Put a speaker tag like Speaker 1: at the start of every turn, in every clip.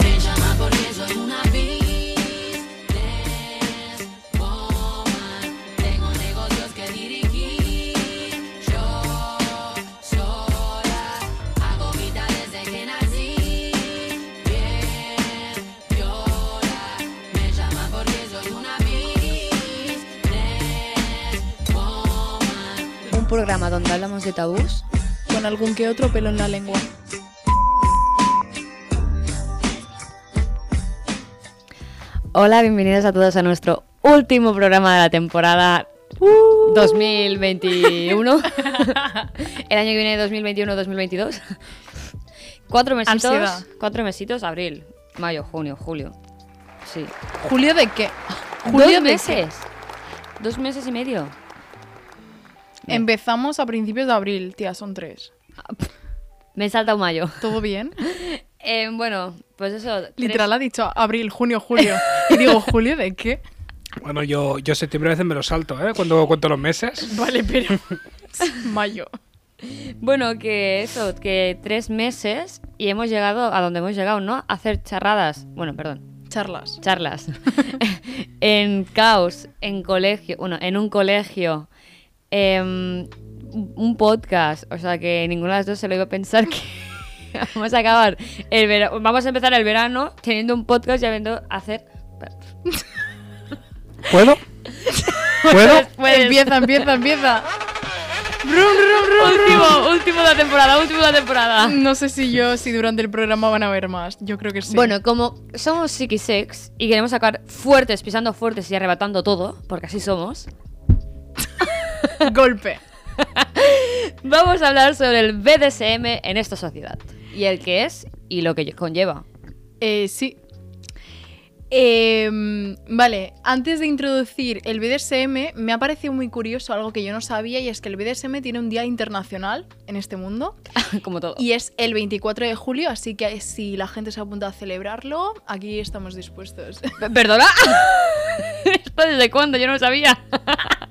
Speaker 1: Me llama porque soy una businesswoman. Tengo negocios que dirigir. Yo sola hago vida desde que nací. Bien viola. Me llama porque soy una businesswoman.
Speaker 2: Un programa donde hablamos de tabús.
Speaker 3: con algún que otro pelo en la lengua.
Speaker 2: Hola, bienvenidos a todos a nuestro último programa de la temporada uh, 2021. El año que viene 2021-2022. Cuatro mesitos.
Speaker 3: Ansiedad.
Speaker 2: Cuatro mesitos, abril, mayo, junio, julio. Sí.
Speaker 3: ¿Julio de qué?
Speaker 2: Dos
Speaker 3: de qué?
Speaker 2: meses. Dos meses y medio.
Speaker 3: Empezamos a principios de abril, tía, son tres.
Speaker 2: Me salta un mayo.
Speaker 3: ¿Todo bien?
Speaker 2: Eh, bueno, pues eso. tres-
Speaker 3: Literal ha dicho abril, junio, julio. Y digo, ¿julio de qué?
Speaker 4: Bueno, yo, yo septiembre a veces me lo salto, ¿eh? Cuando cuento los meses.
Speaker 3: Vale, pero. Mayo.
Speaker 2: Bueno, que eso, que tres meses y hemos llegado a donde hemos llegado, ¿no? A hacer charradas. Bueno, perdón.
Speaker 3: Charlas.
Speaker 2: charlas en caos, en colegio, bueno, en un colegio, em, un un podcast, o sea que ninguna de las dos se lo iba a pensar que vamos a acabar el vera- vamos a empezar el verano teniendo un podcast y habiendo hacer
Speaker 4: ¿Puedo? ¿Puedo?
Speaker 3: Empieza, empieza, empieza.
Speaker 2: último, último de la temporada, último de la temporada.
Speaker 3: No sé si yo, si durante el programa van a ver más. Yo creo que sí.
Speaker 2: Bueno, como somos psiquisex y queremos sacar fuertes, pisando fuertes y arrebatando todo, porque así somos,
Speaker 3: golpe.
Speaker 2: Vamos a hablar sobre el BDSM en esta sociedad. Y el que es y lo que conlleva.
Speaker 3: Eh, sí. Em, vale, antes de introducir el BDSM, me ha parecido muy curioso algo que yo no sabía y es que el BDSM tiene un día internacional en este mundo
Speaker 2: Como todo.
Speaker 3: y es el 24 de julio, así que si la gente se apunta a celebrarlo, aquí estamos dispuestos.
Speaker 2: P- ¿Perdona? ¿Esto desde cuándo? Yo no lo sabía.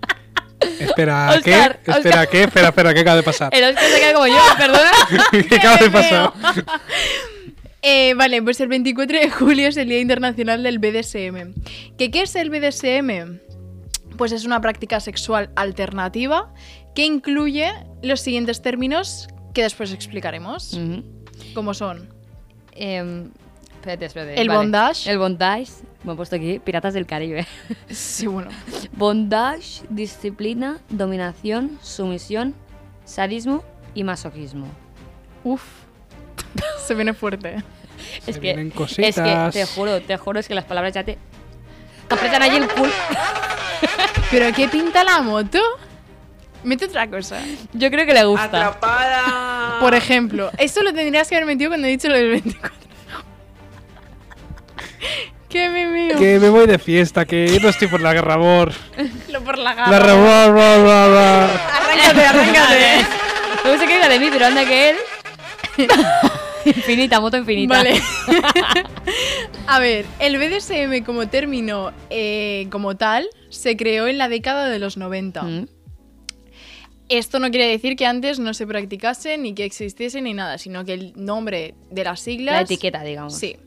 Speaker 4: Espera,
Speaker 2: Oscar,
Speaker 4: ¿qué?
Speaker 2: Oscar.
Speaker 4: Espera, ¿qué? Espera, espera, ¿qué acaba de pasar?
Speaker 2: El Oscar se queda como yo, ¿perdona?
Speaker 4: ¿Qué acaba de pasar?
Speaker 3: Eh, vale, pues el 24 de julio es el Día Internacional del BDSM. ¿Que ¿Qué es el BDSM? Pues es una práctica sexual alternativa que incluye los siguientes términos que después explicaremos,
Speaker 2: Ujú.
Speaker 3: como son.
Speaker 2: Em, espérate, espérate.
Speaker 3: El bondage.
Speaker 2: El bondage. Me he puesto aquí Piratas del Caribe.
Speaker 3: Sí, bueno.
Speaker 2: Bondage, disciplina, dominación, sumisión, sadismo y masoquismo.
Speaker 3: Uf. Se viene fuerte.
Speaker 2: Es
Speaker 4: vienen
Speaker 2: que, es que
Speaker 4: cositas.
Speaker 2: te juro, te juro, es que las palabras ya te... Te apretan allí el culo.
Speaker 3: ¿Pero qué pinta la moto? Mete otra cosa.
Speaker 2: Yo creo que le gusta.
Speaker 3: Ah. Por ejemplo, esto lo tendrías que haber metido cuando he dicho lo del 24. ¡Qué me meo!
Speaker 4: Que me voy de fiesta, que no estoy por la rabor.
Speaker 3: Lo por la
Speaker 4: La
Speaker 3: gama.
Speaker 4: rabor, ra, ra, ra.
Speaker 3: Arráncate, arráncate.
Speaker 2: No sé qué era de mí, pero anda que él. infinita, moto infinita.
Speaker 3: Vale. A ver, el BDSM como término, eh, como tal, se creó en la década de los 90.
Speaker 2: Mm.
Speaker 3: Esto no quiere decir que antes no se practicase, ni que existiese, ni nada, sino que el nombre de las siglas...
Speaker 2: La etiqueta, digamos.
Speaker 3: Sí.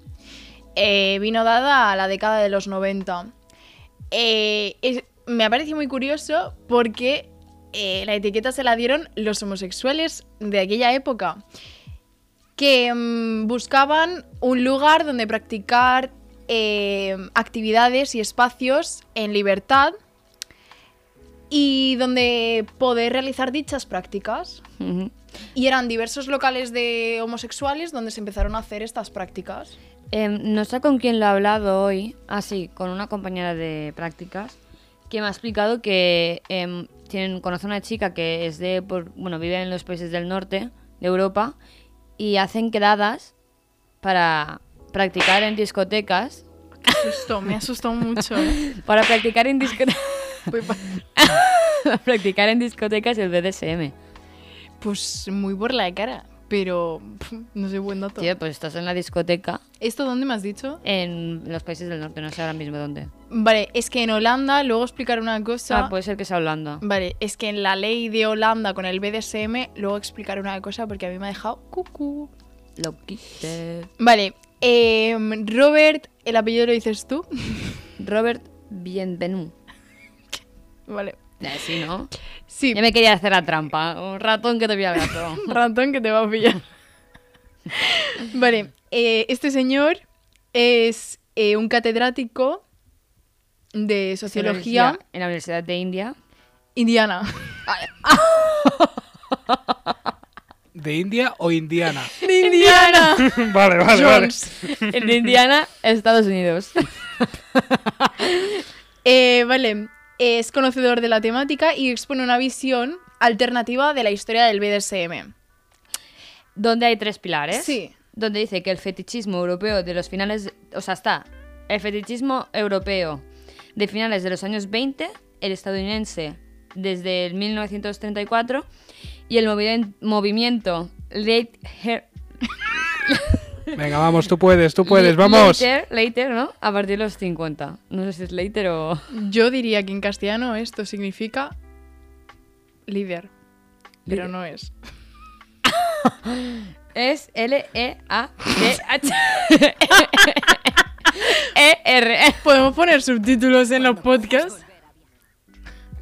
Speaker 3: Eh, vino dada a la década de los 90. Eh, es- me parece muy curioso porque eh, la etiqueta se la dieron los homosexuales de aquella época, que mm, buscaban un lugar donde practicar eh, actividades y espacios en libertad y donde poder realizar dichas prácticas.
Speaker 2: Ujú.
Speaker 3: Y eran diversos locales de homosexuales donde se empezaron a hacer estas prácticas.
Speaker 2: Em, no sé con quién lo he hablado hoy. Ah, sí, con una compañera de prácticas que me ha explicado que em, tienen, conoce a una chica que es de, por- bueno, vive en los países del norte de Europa y hacen quedadas para practicar en discotecas,
Speaker 3: Asustó, me asustó mucho.
Speaker 2: para practicar en discotecas,
Speaker 3: Voy pa-
Speaker 2: practicar en discotecas el BDSM.
Speaker 3: Pues muy por la cara. pero pf, no sé, buen dato.
Speaker 2: Tío, pues estás en la discoteca
Speaker 3: ¿Esto dónde me has dicho?
Speaker 2: en los países del norte, no sé ahora mismo dónde.
Speaker 3: Vale, es que en Holanda, luego explicaré una cosa.
Speaker 2: Ah, puede ser que sea Holanda.
Speaker 3: Vale, es que en la ley de Holanda con el BDSM, luego explicaré una cosa porque a mí me ha dejado cucú.
Speaker 2: Lo quité.
Speaker 3: Vale, em, Robert, el apellido lo dices tú.
Speaker 2: Robert Bienvenu.
Speaker 3: vale.
Speaker 2: Eh, sí, ¿no?
Speaker 3: Sí,
Speaker 2: Ya me quería hacer la trampa. Un ratón que te pilla el gato.
Speaker 3: ratón que te va a pillar. vale, eh, este señor es eh, un catedrático de sociología
Speaker 2: En la Universidad de India.
Speaker 3: indiana.
Speaker 4: ¿De India o Indiana?
Speaker 3: ¡De Indiana!
Speaker 4: vale, vale, vale.
Speaker 2: En Indiana, Estados Unidos.
Speaker 3: Eh, vale, es conocedor de la temática y expone una visión alternativa de la historia del BDSM.
Speaker 2: donde hay tres pilares.
Speaker 3: Sí.
Speaker 2: Donde dice que el fetichismo europeo de los finales, o sea, está el fetichismo europeo de finales de los años 20, el estadounidense desde el 1934 y el moviden- movimiento late Her-
Speaker 4: Venga, vamos, tú puedes, tú puedes, vamos.
Speaker 2: Later, later, ¿no? A partir de los 50. No sé si es later o
Speaker 3: Yo diría que en castellano esto significa líder, pero no es.
Speaker 2: es L E A T H E R.
Speaker 3: ¿Podemos poner subtítulos en los podcasts?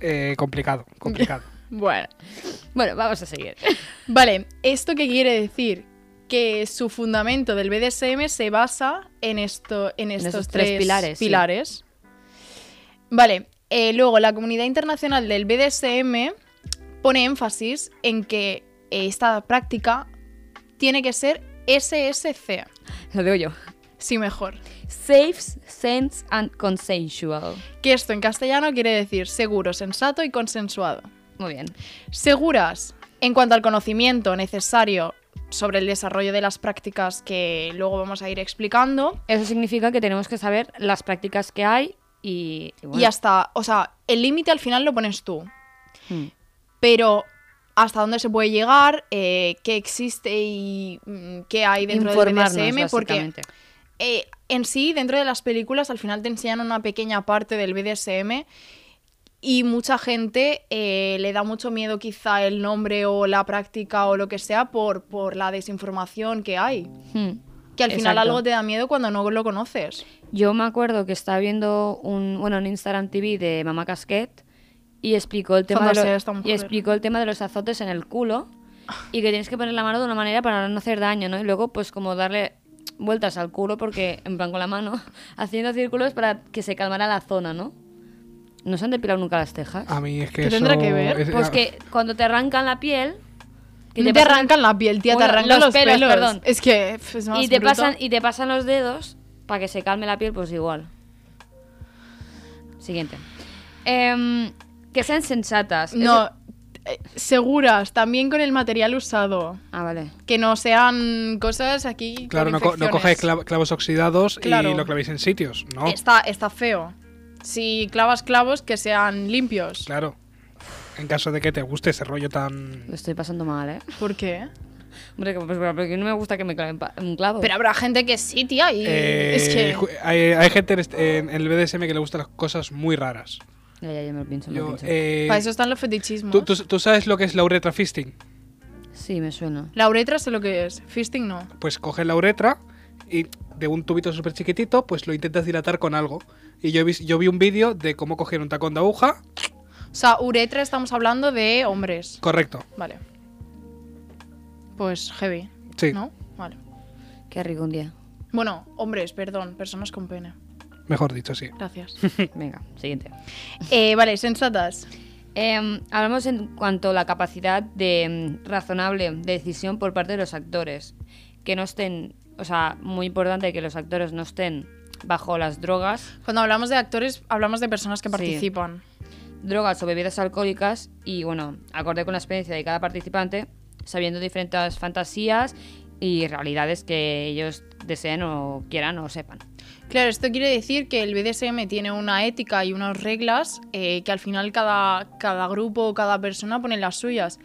Speaker 4: Eh, complicado, complicado.
Speaker 3: Bueno.
Speaker 2: Bueno, vamos a seguir.
Speaker 3: Vale, ¿esto qué quiere decir? Que su fundamento del BDSM se basa en, esto, en estos
Speaker 2: esos tres
Speaker 3: tres,
Speaker 2: pilares, sí.
Speaker 3: pilares. Vale, eh, luego la comunidad internacional del BDSM pone énfasis en que eh, esta práctica tiene que ser SSC,
Speaker 2: Lo digo yo.
Speaker 3: sí mejor.
Speaker 2: Safe, sense and consensual.
Speaker 3: Que esto en castellano quiere decir seguro, sensato y consensuado.
Speaker 2: Muy bien.
Speaker 3: seguras en cuanto al conocimiento necesario sobre el desarrollo de las prácticas que luego vamos a ir explicando.
Speaker 2: Eso significa que tenemos que saber las prácticas que hay y, y bueno.
Speaker 3: Y hasta, o sea, el límite al final lo pones tú,
Speaker 2: Mm.
Speaker 3: pero hasta dónde se puede llegar, eh, qué existe y mm, qué hay dentro del
Speaker 2: Informarnos,
Speaker 3: BDSM, porque
Speaker 2: básicamente.
Speaker 3: eh, en sí, dentro de las películas, al final te enseñan una pequeña parte del BDSM y mucha gente eh, le da mucho miedo quizá el nombre o la práctica o lo que sea por, por la desinformación que hay.
Speaker 2: Mm.
Speaker 3: Que al final
Speaker 2: Exacto.
Speaker 3: algo te da miedo cuando no lo conoces.
Speaker 2: Yo me acuerdo que estaba viendo un, bueno, un Instagram TV de Mamá Casquet y explicó el tema de
Speaker 3: Fantasía
Speaker 2: lo-
Speaker 3: esta mujer.
Speaker 2: y explicó el tema de los azotes en el culo y que tienes que poner la mano de una manera para no hacer daño, ¿no? Y luego pues como darle vueltas al culo porque en plan con la mano haciendo círculos para que se calmara la zona, ¿no? ¿No se han depilado nunca las tejas?
Speaker 4: A mí es que
Speaker 3: ¿Qué
Speaker 4: eso
Speaker 3: tendrá que ver?
Speaker 4: es-
Speaker 2: Pues que cuando te arrancan la piel que
Speaker 3: No te,
Speaker 2: pasan-
Speaker 3: arrancan la piel, tía,
Speaker 2: Bueno,
Speaker 3: te arrancan
Speaker 2: los
Speaker 3: los,
Speaker 2: pelos, perdón.
Speaker 3: Es que pf, es más
Speaker 2: y te
Speaker 3: bruto.
Speaker 2: pasan y te pasan los dedos para que se calme la piel, pues igual. Siguiente. Em, que sean sensatas.
Speaker 3: No,
Speaker 2: Eso-
Speaker 3: eh, seguras, también con el material usado.
Speaker 2: Ah, vale.
Speaker 3: Que no sean cosas aquí. con
Speaker 4: Claro, no, co- no
Speaker 3: infecciones.
Speaker 4: cojáis clav- clavos oxidados
Speaker 3: Claro.
Speaker 4: y lo clavéis en sitios, ¿no?
Speaker 3: Está, está feo. Si clavas clavos que sean limpios.
Speaker 4: Claro. En caso de que te guste ese rollo tan...
Speaker 3: Pues
Speaker 2: Lo estoy pasando mal, ¿eh?
Speaker 3: ¿Por qué?
Speaker 2: Hombre, que, pues, porque no me gusta que me claven pa- un clavo.
Speaker 3: Pero habrá gente que sí, tía, y
Speaker 4: Eh,
Speaker 3: es que
Speaker 4: ju- hay, hay gente en est- en el BDSM que le gustan las cosas muy raras.
Speaker 2: Ya, ya, ya me lo pienso, me lo
Speaker 4: Yo,
Speaker 2: pienso.
Speaker 4: eh,
Speaker 3: para eso están los fetichismos.
Speaker 4: ¿tú, tú- tú sabes lo que es la uretra fisting?
Speaker 2: Sí, me suena.
Speaker 3: La uretra sé lo que es, fisting no.
Speaker 4: Pues coges la uretra y de un tubito súper chiquitito, pues lo intentas dilatar con algo. Y yo, he vis- yo vi un vídeo de cómo coger un tacón de aguja.
Speaker 3: O sea, uretra estamos hablando de hombres.
Speaker 4: Correcto.
Speaker 3: Vale. Pues heavy,
Speaker 4: Sí.
Speaker 3: ¿no? Vale.
Speaker 2: Qué rico un día.
Speaker 3: Bueno, hombres, perdón, personas con pene.
Speaker 4: Mejor dicho, sí.
Speaker 3: Gracias.
Speaker 2: Venga, siguiente.
Speaker 3: Eh, vale, sensatas.
Speaker 2: Em, hablamos en cuanto a la capacidad de em, razonable de decisión por parte de los actores. Que no estén, o sea, muy importante que los actores no estén bajo las drogas,
Speaker 3: Cuando hablamos de actores, hablamos de personas que
Speaker 2: Sí.
Speaker 3: participan.
Speaker 2: drogas o bebidas alcohólicas y bueno, acorde con la experiencia de cada participante, sabiendo diferentes fantasías y realidades que ellos deseen o quieran o sepan.
Speaker 3: Claro, esto quiere decir que el BDSM tiene una ética y unas reglas eh, que al final cada, cada grupo o cada persona pone las suyas,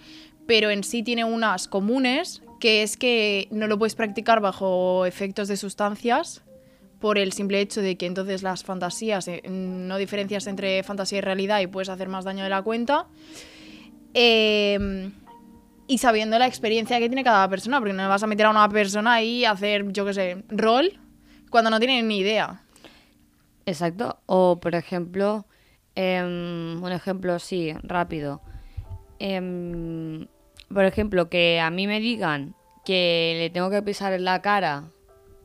Speaker 3: pero en sí tiene unas comunes que es que no lo puedes practicar bajo efectos de sustancias por el simple hecho de que entonces las fantasías, eh, no diferencias entre fantasía y realidad y puedes hacer más daño de la cuenta. Eh, y sabiendo la experiencia que tiene cada persona, porque no vas a meter a una persona ahí a hacer, yo qué sé, rol cuando no tiene ni idea.
Speaker 2: Exacto. O, por ejemplo, em, un ejemplo así, rápido. Em, por ejemplo, que a mí me digan que le tengo que pisar en la cara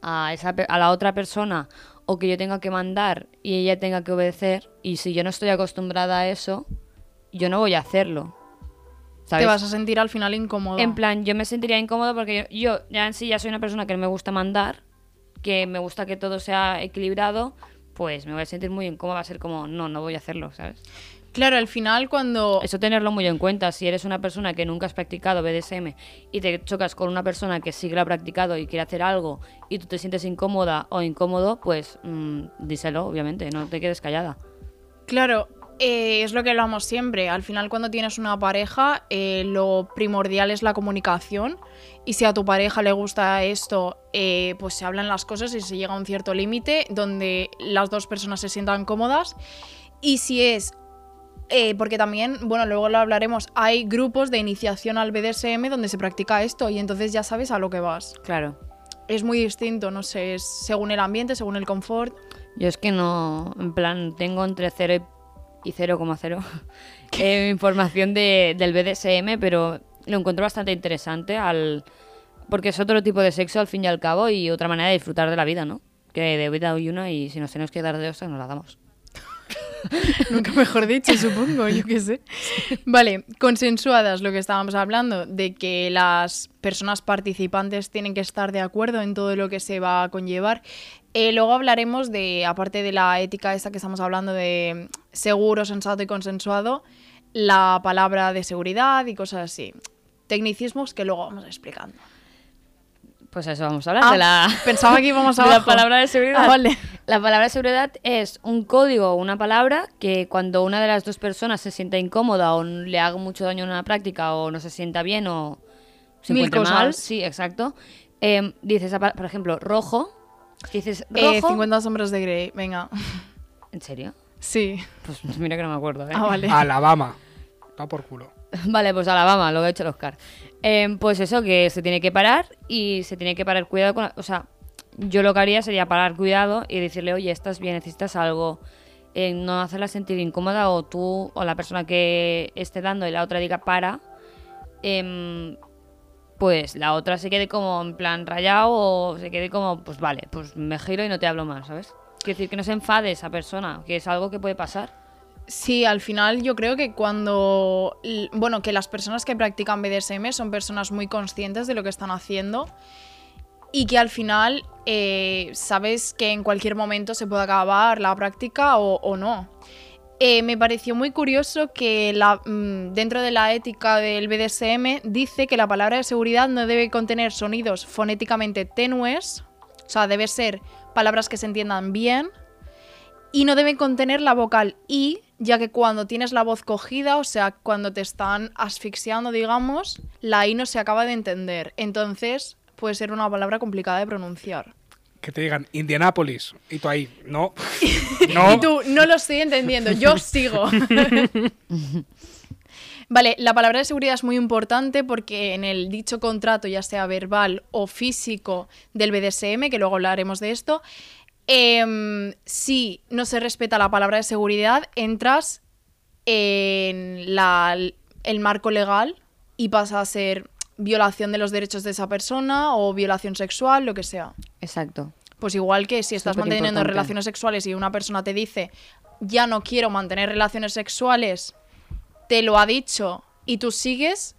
Speaker 2: a, esa, pe- a la otra persona o que yo tenga que mandar y ella tenga que obedecer. Y si yo no estoy acostumbrada a eso, yo no voy a hacerlo. ¿Sabes?
Speaker 3: Te vas a sentir al final incómodo.
Speaker 2: En plan, yo me sentiría incómodo porque yo, yo ya en sí ya soy una persona que no me gusta mandar, que me gusta que todo sea equilibrado, pues me voy a sentir muy incómoda, va a ser como, no, no voy a hacerlo, ¿sabes?
Speaker 3: Claro, al final cuando...
Speaker 2: Eso tenerlo muy en cuenta, si eres una persona que nunca has practicado BDSM y te chocas con una persona que sí que lo ha practicado y quiere hacer algo y tú te sientes incómoda o incómodo, pues mm, díselo, obviamente, no te quedes callada.
Speaker 3: Claro, eh, es lo que hablamos siempre. Al final, cuando tienes una pareja, eh, lo primordial es la comunicación. Y si a tu pareja le gusta esto, eh, pues se hablan las cosas y se llega a un cierto límite donde las dos personas se sientan cómodas. Y si es. eh, porque también, bueno, luego lo hablaremos. Hay grupos de iniciación al BDSM donde se practica esto y entonces ya sabes a lo que vas.
Speaker 2: Claro.
Speaker 3: Es muy distinto, no sé, es según el ambiente, según el confort.
Speaker 2: Yo es que no, en plan, tengo entre 0 y 0,0 eh, información de, del BDSM, pero lo encuentro bastante interesante al porque es otro tipo de sexo al fin y al cabo y otra manera de disfrutar de la vida, ¿no? Que de vida hay una y si nos tenemos que dar de ostras nos la damos.
Speaker 3: Nunca mejor dicho, supongo, yo qué sé. Vale, consensuadas lo que estábamos hablando, de que las personas participantes tienen que estar de acuerdo en todo lo que se va a conllevar. Eh, luego hablaremos de, aparte de la ética esta que estamos hablando de seguro, sensato y consensuado, la palabra de seguridad y cosas así. Tecnicismos que luego vamos explicando.
Speaker 2: Pues a eso vamos a hablar
Speaker 3: Ah,
Speaker 2: de la
Speaker 3: pensaba que íbamos
Speaker 2: de
Speaker 3: abajo.
Speaker 2: la palabra de seguridad.
Speaker 3: Ah, vale.
Speaker 2: La palabra de seguridad es un código o una palabra que cuando una de las dos personas se sienta incómoda o le haga mucho daño en una práctica o no se sienta bien o se
Speaker 3: Mil
Speaker 2: encuentra
Speaker 3: cosas.
Speaker 2: mal, sí, exacto. em, dices, esa pa- por ejemplo, rojo. Dices rojo.
Speaker 3: Eh, 50 sombras de Grey, venga.
Speaker 2: ¿En serio?
Speaker 3: Sí.
Speaker 2: Pues mira que no me acuerdo. ¿eh?
Speaker 3: Ah, vale.
Speaker 4: Alabama. Va por culo.
Speaker 2: Vale, pues Alabama, lo que ha hecho el Oscar. Em, pues eso, que se tiene que parar y se tiene que parar cuidado con... la- o sea, yo lo que haría sería parar cuidado y decirle, oye, estás bien, necesitas algo. Eh, no hacerla sentir incómoda o tú o la persona que esté dando y la otra diga para. em, pues la otra se quede como en plan rayado o se quede como, pues vale, pues me giro y no te hablo más, ¿sabes? Quiero decir, que no se enfade esa persona, que es algo que puede pasar.
Speaker 3: Sí, al final yo creo que cuando. l- Bueno, que las personas que practican BDSM son personas muy conscientes de lo que están haciendo y que al final eh, sabes que en cualquier momento se puede acabar la práctica o, o no. Eh, me pareció muy curioso que la- mm, dentro de la ética del BDSM dice que la palabra de seguridad no debe contener sonidos fonéticamente tenues, o sea, debe ser palabras que se entiendan bien y no deben contener la vocal I, ya que cuando tienes la voz cogida, o sea, cuando te están asfixiando, digamos, la I no se acaba de entender. Entonces, puede ser una palabra complicada de pronunciar.
Speaker 4: Que te digan Indianápolis. Y tú ahí, no. no.
Speaker 3: Y tú, no lo estoy entendiendo, yo sigo. vale, la palabra de seguridad es muy importante porque en el dicho contrato, ya sea verbal o físico del BDSM, que luego hablaremos de esto, em, si no se respeta la palabra de seguridad, entras en la- el marco legal y pasa a ser violación de los derechos de esa persona o violación sexual, lo que sea.
Speaker 2: Exacto.
Speaker 3: Pues igual que si estás
Speaker 2: Súper
Speaker 3: manteniendo
Speaker 2: importante.
Speaker 3: relaciones sexuales y una persona te dice, ya no quiero mantener relaciones sexuales, te lo ha dicho y tú sigues,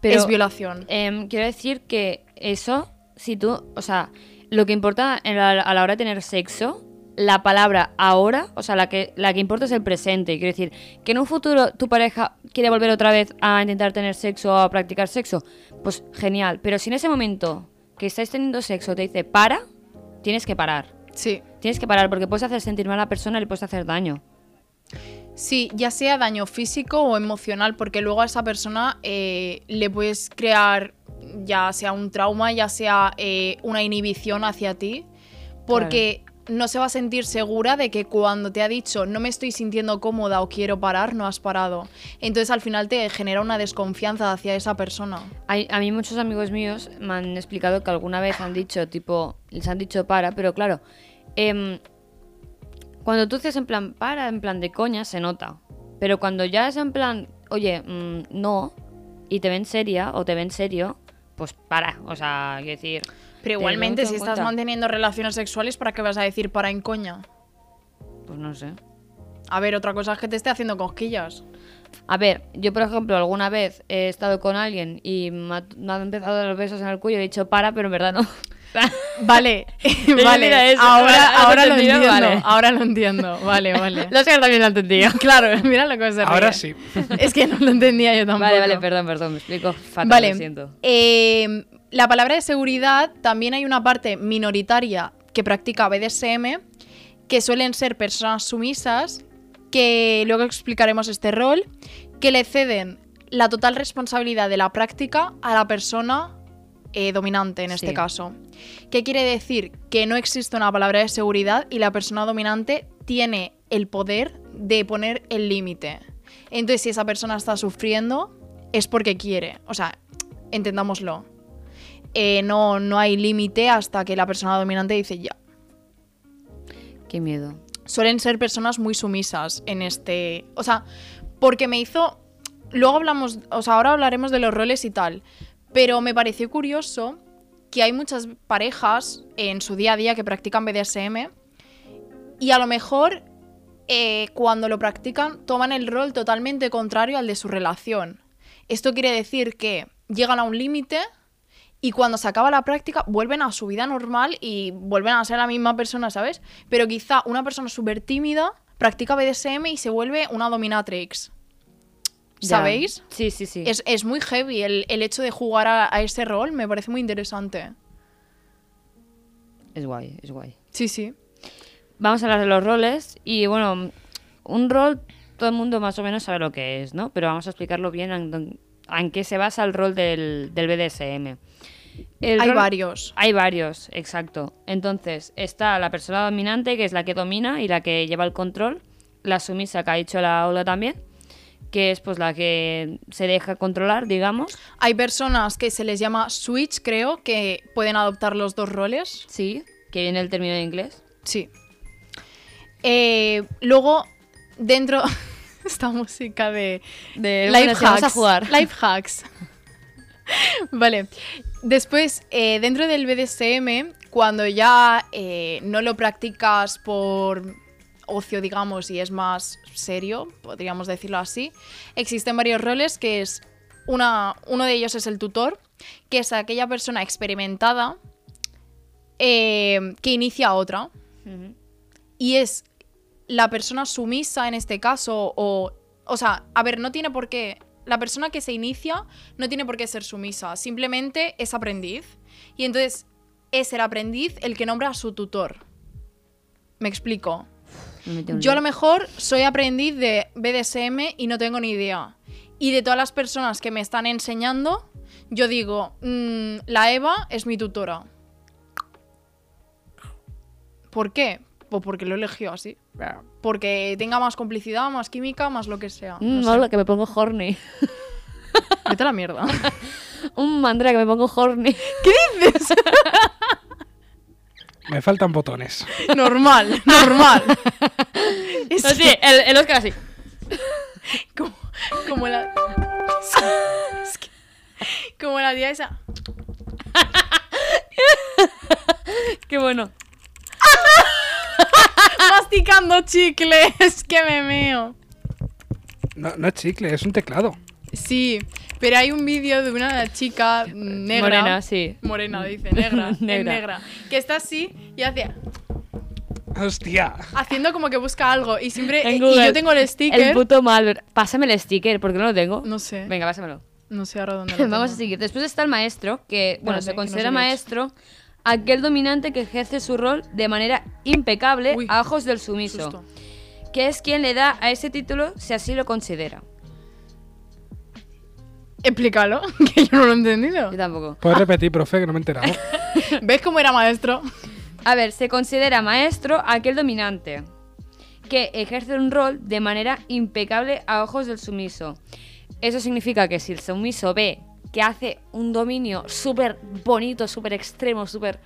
Speaker 2: Pero-
Speaker 3: es violación.
Speaker 2: Em, quiero decir que eso, si tú, o sea, lo que importa en la- a la hora de tener sexo, la palabra ahora, o sea, la que, la que importa es el presente. Quiero decir, que en un futuro tu pareja quiere volver otra vez a intentar tener sexo o a practicar sexo, pues genial. Pero si en ese momento que estáis teniendo sexo te dice para, tienes que parar.
Speaker 3: Sí.
Speaker 2: Tienes que parar porque puedes hacer sentir mal a la persona y le puedes hacer daño.
Speaker 3: Sí, ya sea daño físico o emocional, porque luego a esa persona eh, le puedes crear ya sea un trauma, ya sea eh, una inhibición hacia ti, porque no se va a sentir segura de que cuando te ha dicho no me estoy sintiendo cómoda o quiero parar, no has parado. Entonces al final te genera una desconfianza hacia esa persona.
Speaker 2: Hay- a mí muchos amigos míos me han explicado que alguna vez han dicho, tipo, les han dicho para, pero claro, em, cuando tú dices en plan para, en plan de coña, se nota. Pero cuando ya es en plan, oye, mm, no, y te ven seria o te ven serio, pues para, o sea, quiero decir...
Speaker 3: Pero
Speaker 2: ten
Speaker 3: igualmente,
Speaker 2: mucho
Speaker 3: si
Speaker 2: en
Speaker 3: estás
Speaker 2: cuenta.
Speaker 3: manteniendo relaciones sexuales, ¿para qué vas a decir para en coña?
Speaker 2: Pues no sé.
Speaker 3: A ver, otra cosa es que te esté haciendo cosquillas.
Speaker 2: A ver, yo por ejemplo alguna vez he estado con alguien y me ha- me han empezado a dar besos en el cuello y he dicho para, pero en verdad no.
Speaker 3: Vale,
Speaker 2: mira
Speaker 3: vale.
Speaker 2: eso,
Speaker 3: ahora,
Speaker 2: ahora- ahora
Speaker 3: ahora lo
Speaker 2: entendido,
Speaker 3: entiendo.
Speaker 2: vale.
Speaker 3: Ahora lo entiendo. Vale, vale.
Speaker 2: Lo sé que también lo he entendido.
Speaker 3: Claro, mira lo que se ríe.
Speaker 4: Ahora sí.
Speaker 3: Es que no lo entendía yo tampoco.
Speaker 2: Vale, vale, perdón, perdón, me explico fatal,
Speaker 3: Ah, Vale.
Speaker 2: lo siento.
Speaker 3: eh, la palabra de seguridad también hay una parte minoritaria que practica BDSM, que suelen ser personas sumisas, que luego explicaremos este rol, que le ceden la total responsabilidad de la práctica a la persona eh, dominante en este
Speaker 2: Sí.
Speaker 3: caso. ¿Qué quiere decir? Que no existe una palabra de seguridad y la persona dominante tiene el poder de poner el límite. Entonces, si esa persona está sufriendo, es porque quiere. O sea, entendámoslo. Eh, no, no hay límite hasta que la persona dominante dice ya.
Speaker 2: Qué miedo.
Speaker 3: Suelen ser personas muy sumisas en este. O sea, porque me hizo. Luego hablamos. O sea, ahora hablaremos de los roles y tal. Pero me pareció curioso que hay muchas parejas en su día a día que practican BDSM. Y a lo mejor eh, cuando lo practican toman el rol totalmente contrario al de su relación. Esto quiere decir que llegan a un límite y cuando se acaba la práctica vuelven a su vida normal y vuelven a ser la misma persona, ¿sabes? Pero quizá una persona súper tímida practica BDSM y se vuelve una dominatrix.
Speaker 2: Ya.
Speaker 3: ¿Sabéis?
Speaker 2: Sí, sí, sí.
Speaker 3: Es, es muy heavy el, el hecho de jugar a, a ese rol, me parece muy interesante.
Speaker 2: Es guay, es guay.
Speaker 3: Sí, sí.
Speaker 2: Vamos a hablar de los roles y bueno, un rol todo el mundo más o menos sabe lo que es, ¿no? Pero vamos a explicarlo bien en, don- en qué se basa el rol del, del BDSM. El
Speaker 3: Hay
Speaker 2: rol-
Speaker 3: varios.
Speaker 2: Hay varios, exacto. Entonces, está la persona dominante, que es la que domina y la que lleva el control. La sumisa, que ha dicho la Ola también, que es pues la que se deja controlar, digamos.
Speaker 3: Hay personas que se les llama switch, creo, que pueden adoptar los dos roles.
Speaker 2: Sí, que viene el término en inglés.
Speaker 3: Sí. Eh, luego, dentro. Esta música de.
Speaker 2: De
Speaker 3: Life
Speaker 2: bueno, sí, vamos a
Speaker 3: hacks.
Speaker 2: jugar.
Speaker 3: Life hacks. vale. Después, eh, dentro del BDSM, cuando ya eh, no lo practicas por ocio, digamos, y es más serio, podríamos decirlo así, existen varios roles que es una, uno de ellos es el tutor, que es aquella persona experimentada eh, que inicia a otra
Speaker 2: Ujú.
Speaker 3: y es la persona sumisa en este caso o o sea, a ver, no tiene por qué la persona que se inicia no tiene por qué ser sumisa, simplemente es aprendiz y entonces es el aprendiz el que nombra a su tutor. Me explico.
Speaker 2: Me metí un
Speaker 3: Yo a
Speaker 2: lío.
Speaker 3: lo mejor soy aprendiz de BDSM y no tengo ni idea. Y de todas las personas que me están enseñando, yo digo, "Mm, la Eva es mi tutora. ¿Por qué? Pues porque lo eligió así. Porque tenga más complicidad, más química, más lo que sea.
Speaker 2: Mm,
Speaker 3: No sé.
Speaker 2: hola, que me pongo horny.
Speaker 3: Vete a la mierda.
Speaker 2: Un mandra que me pongo horny.
Speaker 4: Me faltan botones.
Speaker 3: normal, normal. Es
Speaker 2: No, sí, el, el Oscar así.
Speaker 3: como, como la... es que- como la tía esa.
Speaker 2: Qué bueno.
Speaker 3: masticando chicle, es que me meo.
Speaker 4: No, no es chicle, es un teclado.
Speaker 3: Sí, pero hay un vídeo de una chica mm, negra.
Speaker 2: Morena, sí. Mm.
Speaker 3: Morena, dice, negra. es
Speaker 2: Negra.
Speaker 3: negra. Que está así y hace,
Speaker 4: ¡Hostia!
Speaker 3: haciendo como que busca algo. Y siempre. eh,
Speaker 2: En
Speaker 3: Y
Speaker 2: Google.
Speaker 3: yo tengo el
Speaker 2: El
Speaker 3: sticker.
Speaker 2: puto Malver. Pásame el sticker, porque no lo tengo.
Speaker 3: no sé.
Speaker 2: Venga, pásamelo.
Speaker 3: No sé ahora dónde. lo
Speaker 2: Vamos a
Speaker 3: tengo.
Speaker 2: seguir. Después está el maestro, que bueno,
Speaker 3: Espérate,
Speaker 2: se
Speaker 3: que no
Speaker 2: considera
Speaker 3: sé lo he hecho.
Speaker 2: maestro aquel dominante que ejerce su rol de manera impecable
Speaker 3: Uy,
Speaker 2: a ojos del
Speaker 3: Qué
Speaker 2: sumiso,
Speaker 3: susto.
Speaker 2: que es quien le da a ese título si así lo considera.
Speaker 3: Explícalo, que yo no lo he entendido.
Speaker 2: Yo tampoco.
Speaker 4: Puedes repetir, profe, que no me he enterado.
Speaker 3: ¿Ves cómo era maestro?
Speaker 2: A ver, se considera maestro aquel dominante que ejerce un rol de manera impecable a ojos del sumiso. Eso significa que si el sumiso ve que hace un dominio súper bonito, súper extremo, súper...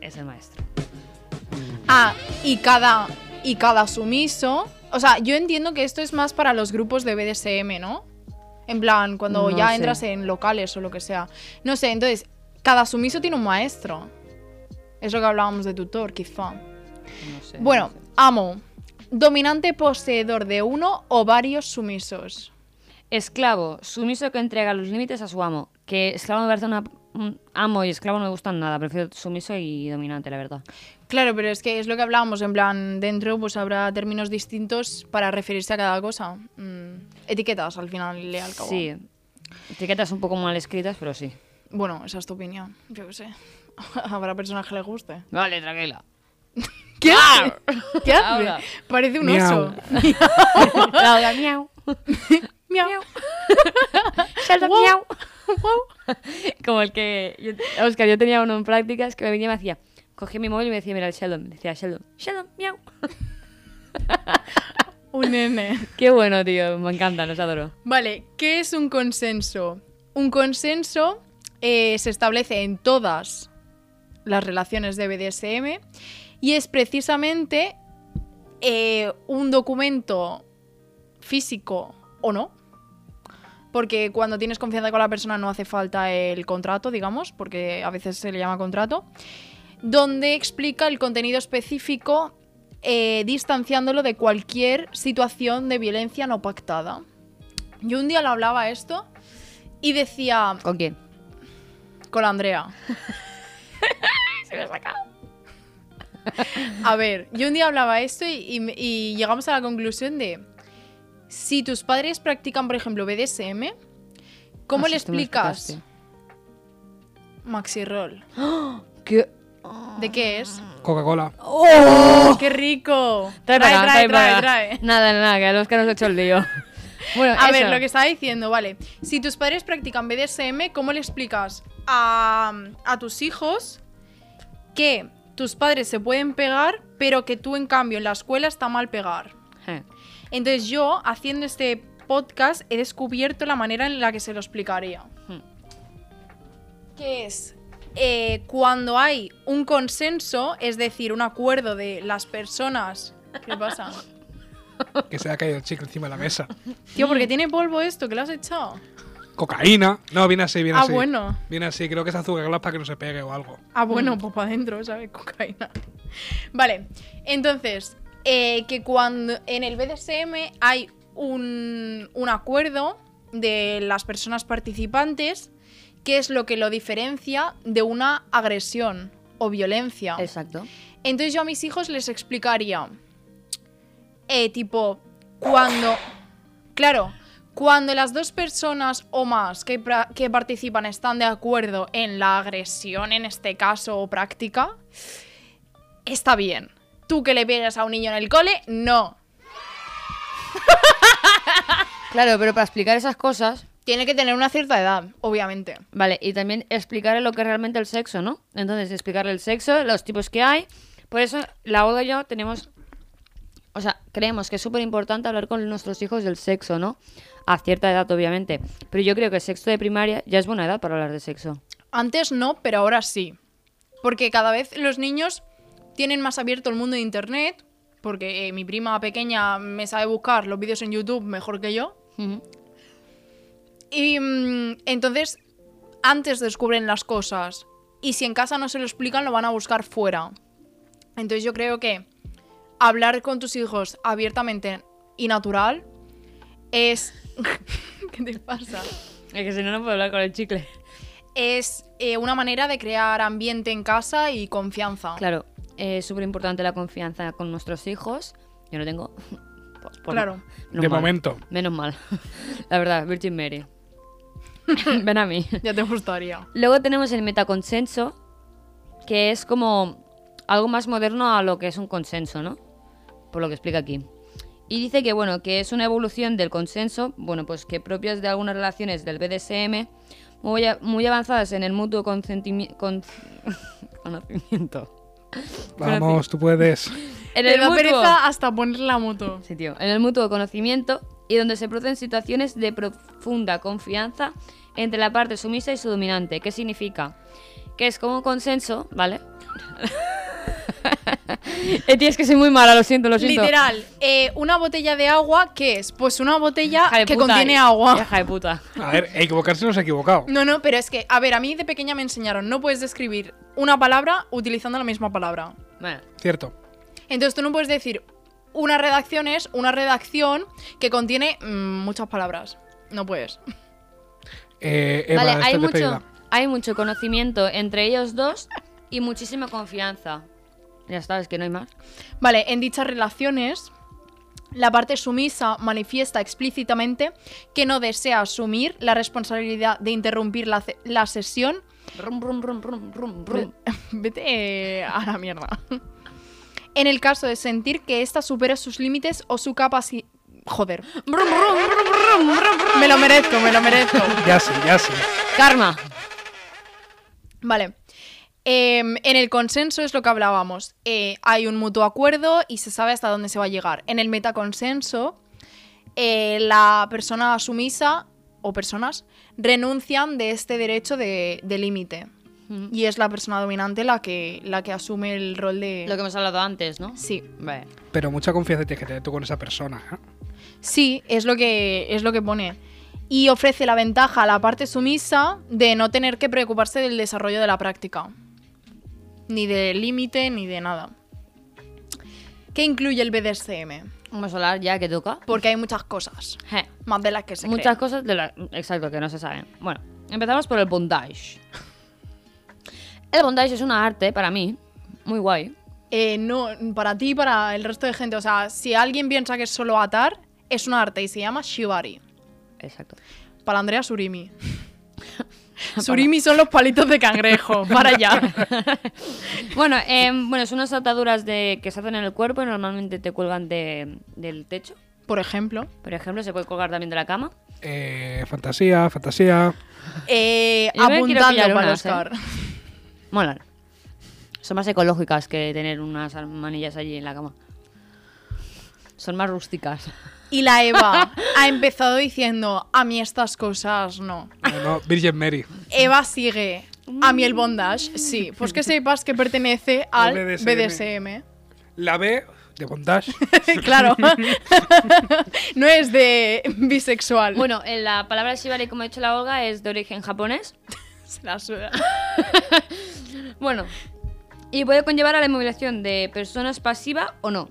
Speaker 2: Es el maestro.
Speaker 3: Ah, y cada, y cada sumiso. O sea, yo entiendo que esto es más para los grupos de BDSM, ¿no? En plan, cuando
Speaker 2: No
Speaker 3: ya
Speaker 2: sé.
Speaker 3: entras en locales o lo que sea. No sé, entonces, cada sumiso tiene un maestro. Es lo que hablábamos de tutor, quizá.
Speaker 2: No sé,
Speaker 3: Bueno,
Speaker 2: no sé.
Speaker 3: amo. Dominante poseedor de uno o varios sumisos.
Speaker 2: Esclavo, sumiso que entrega los límites a su amo. Que esclavo me parece una... un Amo y esclavo no me gustan nada, prefiero sumiso y dominante, la verdad.
Speaker 3: Claro, pero es que es lo que hablábamos, en plan, dentro pues habrá términos distintos para referirse a cada cosa. Mm, Etiquetas al final le al cabo.
Speaker 2: Sí. Etiquetas un poco mal escritas, pero sí.
Speaker 3: Bueno, esa es tu opinión. Yo qué sé. Habrá personas que les guste.
Speaker 2: Vale, tranquila.
Speaker 3: ¿Qué hace? ¿Qué hace?
Speaker 2: Ahora.
Speaker 3: Parece un
Speaker 4: Miau.
Speaker 3: oso.
Speaker 2: Laura, miau.
Speaker 3: Miau.
Speaker 2: Salta, miau. Como el que. yo- Oscar, yo tenía uno en prácticas que me venía y me hacía. Cogía mi móvil y me decía, mira, el Sheldon. Me decía, Sheldon, Sheldon, miau.
Speaker 3: Un nene.
Speaker 2: Qué bueno, tío. Me encanta, los adoro.
Speaker 3: Vale, ¿qué es un consenso? Un consenso eh, se establece en todas las relaciones de BDSM y es precisamente eh, un documento físico o no. Porque cuando tienes confianza con la persona no hace falta el contrato, digamos, porque a veces se le llama contrato, donde explica el contenido específico eh, distanciándolo de cualquier situación de violencia no pactada. Yo un día lo hablaba esto y decía
Speaker 2: ¿Con quién?
Speaker 3: con la Andrea.
Speaker 2: Se me ha sacado.
Speaker 3: A ver, yo un día hablaba esto y, y me- y llegamos a la conclusión de si tus padres practican, por ejemplo, BDSM, ¿cómo
Speaker 2: Ah,
Speaker 3: le
Speaker 2: sí, tú me lo
Speaker 3: explicas
Speaker 2: explicaste.
Speaker 3: maxi roll?
Speaker 2: ¿Qué?
Speaker 3: ¿De qué es?
Speaker 4: Coca-Cola.
Speaker 3: ¡Qué rico!
Speaker 2: Oh. Trae para acá, trae para acá.
Speaker 3: trae.
Speaker 2: Nada, nada, que a los que nos ha hecho el lío. Bueno,
Speaker 3: A ver,
Speaker 2: eso.
Speaker 3: lo que estaba diciendo, vale. Si tus padres practican BDSM, ¿cómo le explicas a, a tus hijos que tus padres se pueden pegar, pero que tú, en cambio, en la escuela está mal pegar?
Speaker 2: Eh,
Speaker 3: Entonces yo, haciendo este podcast, he descubierto la manera en la que se lo explicaría.
Speaker 2: Hmm.
Speaker 3: Que es eh, cuando hay un consenso, es decir, un acuerdo de las personas... ¿Qué pasa?
Speaker 4: Que se le ha caído el chicle encima de la mesa.
Speaker 3: Tío, porque tiene polvo esto, que lo has echado.
Speaker 4: Cocaína. No, viene así, viene
Speaker 3: Ah,
Speaker 4: así.
Speaker 3: bueno.
Speaker 4: Viene así, creo que es azúcar para que no se pegue o algo.
Speaker 3: Ah, bueno, pues para adentro, ¿sabes? Cocaína. Vale, entonces, eh, que cuando en el BDSM hay un, un acuerdo de las personas participantes, que es lo que lo diferencia de una agresión o violencia.
Speaker 2: Exacto.
Speaker 3: Entonces yo a mis hijos les explicaría, eh, tipo, cuando, claro, cuando las dos personas o más que, pra- que participan están de acuerdo en la agresión, en este caso, o práctica, está bien. Tú que le pegas a un niño en el cole, no.
Speaker 2: Claro, pero para explicar esas cosas,
Speaker 3: Tiene que tener una cierta edad, obviamente.
Speaker 2: Vale, y también explicarle lo que es realmente el sexo, ¿no? Entonces, explicarle el sexo, los tipos que hay. Por eso, la Olga y yo tenemos. O sea, creemos que es súper importante hablar con nuestros hijos del sexo, ¿no? A cierta edad, obviamente. Pero yo creo que sexto de primaria ya es buena edad para hablar de sexo.
Speaker 3: Antes no, pero ahora sí. Porque cada vez los niños tienen más abierto el mundo de internet. Porque eh, mi prima pequeña me sabe buscar los vídeos en YouTube mejor que yo. Y mm, entonces, antes descubren las cosas. Y si en casa no se lo explican, lo van a buscar fuera. Entonces yo creo que hablar con tus hijos abiertamente y natural es... ¿Qué te pasa?
Speaker 2: Es que si no, no puedo hablar con el chicle.
Speaker 3: es eh, una manera de crear ambiente en casa y confianza.
Speaker 2: Claro, es súper importante la confianza con nuestros hijos. Yo no tengo. Pues, pues,
Speaker 3: Claro.
Speaker 2: menos
Speaker 4: de
Speaker 2: mal.
Speaker 4: momento.
Speaker 2: Menos mal. La verdad, Virgin Mary. Ven a mí.
Speaker 3: Ya te gustaría.
Speaker 2: Luego tenemos el metaconsenso, que es como algo más moderno a lo que es un consenso, ¿no? Por lo que explica aquí. Y dice que, bueno, que es una evolución del consenso, bueno, pues que propias de algunas relaciones del BDSM, muy, a- muy avanzadas en el mutuo consentimi- con- conocimiento.
Speaker 4: Vamos, tú puedes.
Speaker 2: En
Speaker 3: Le
Speaker 2: el
Speaker 3: da
Speaker 2: mutuo-
Speaker 3: pereza hasta poner la moto.
Speaker 2: Sí, tío. En el mutuo conocimiento y donde se producen situaciones de profunda confianza entre la parte sumisa y su dominante. ¿Qué significa? Que es como un consenso, ¿vale? eh, tío, es que soy muy mala, lo siento, lo siento.
Speaker 3: Literal, eh, una botella de agua, ¿qué es? Pues una botella
Speaker 2: Hija de
Speaker 3: que
Speaker 2: puta, eh.
Speaker 3: contiene agua.
Speaker 2: Hija de puta.
Speaker 4: A ver, equivocarse no se ha equivocado.
Speaker 3: No, no, pero es que, a ver, a mí de pequeña me enseñaron, no puedes describir una palabra utilizando la misma palabra.
Speaker 2: Bueno,
Speaker 4: Cierto.
Speaker 3: Entonces tú no puedes decir, una redacción es una redacción que contiene mm, muchas palabras. No puedes.
Speaker 4: Eh, Eva,
Speaker 2: vale, hay
Speaker 4: estás
Speaker 2: mucho,
Speaker 4: despedida.
Speaker 2: hay mucho conocimiento entre ellos dos y muchísima confianza. Ya sabes que no hay más.
Speaker 3: Vale, en dichas relaciones, la parte sumisa manifiesta explícitamente que no desea asumir la responsabilidad de interrumpir la, ce- la sesión.
Speaker 2: Rum, rum, rum, rum, rum, rum.
Speaker 3: Vete eh, a la mierda. En el caso de sentir que ésta supera sus límites o su capacidad... Joder. Me lo merezco, me lo merezco.
Speaker 4: Ya sí, ya sí.
Speaker 2: Karma.
Speaker 3: Vale. Em, en el consenso es lo que hablábamos. Eh, hay un mutuo acuerdo y se sabe hasta dónde se va a llegar. En el metaconsenso, eh, la persona sumisa o personas renuncian de este derecho de, de límite.
Speaker 2: Ujú.
Speaker 3: Y es la persona dominante la que, la que asume el rol de...
Speaker 2: Lo que hemos hablado antes, ¿no?
Speaker 3: Sí.
Speaker 2: Vale.
Speaker 4: Pero mucha confianza tienes que tener tú con esa persona. ¿eh?
Speaker 3: Sí, es lo que es lo que pone. Y ofrece la ventaja a la parte sumisa de no tener que preocuparse del desarrollo de la práctica. Ni de límite, ni de nada. ¿Qué incluye el BDSM?
Speaker 2: Vamos a hablar ya que toca.
Speaker 3: Porque hay muchas cosas.
Speaker 2: Je.
Speaker 3: Más de las que se
Speaker 2: Muchas
Speaker 3: creen.
Speaker 2: cosas de la... Exacto, que no se saben. Bueno, empezamos por el bondage. El bondage es una arte, para mí, muy guay.
Speaker 3: Eh, no, para ti y para el resto de gente. O sea, si alguien piensa que es solo atar, es un arte y se llama Shibari.
Speaker 2: Exacto.
Speaker 3: Para Andrea Surimi. Surimi son los palitos de cangrejo. Para allá.
Speaker 2: Bueno, em, bueno, son unas ataduras de, que se hacen en el cuerpo y normalmente te cuelgan de- del techo.
Speaker 3: Por ejemplo.
Speaker 2: Por ejemplo, se puede colgar también de la cama.
Speaker 4: Eh, fantasía, fantasía.
Speaker 3: Eh,
Speaker 2: Yo me quiero
Speaker 3: apuntando
Speaker 2: pillar
Speaker 3: para el
Speaker 2: unas,
Speaker 3: Oscar.
Speaker 2: Molan. Son más ecológicas que tener unas manillas allí en la cama. Son más rústicas.
Speaker 3: Y la Eva ha empezado diciendo, a mí estas cosas no.
Speaker 4: No, no, Virgin Mary.
Speaker 3: Eva sigue, a mí el bondage, sí. Pues que sepas que pertenece al
Speaker 4: BDSM.
Speaker 3: BDSM.
Speaker 4: La B de bondage.
Speaker 3: claro. no es de bisexual.
Speaker 2: Bueno, eh, la palabra shibari, como ha dicho la Olga, es de origen japonés.
Speaker 3: Se la suda.
Speaker 2: Bueno, y puede conllevar a la inmovilización de personas pasiva o no.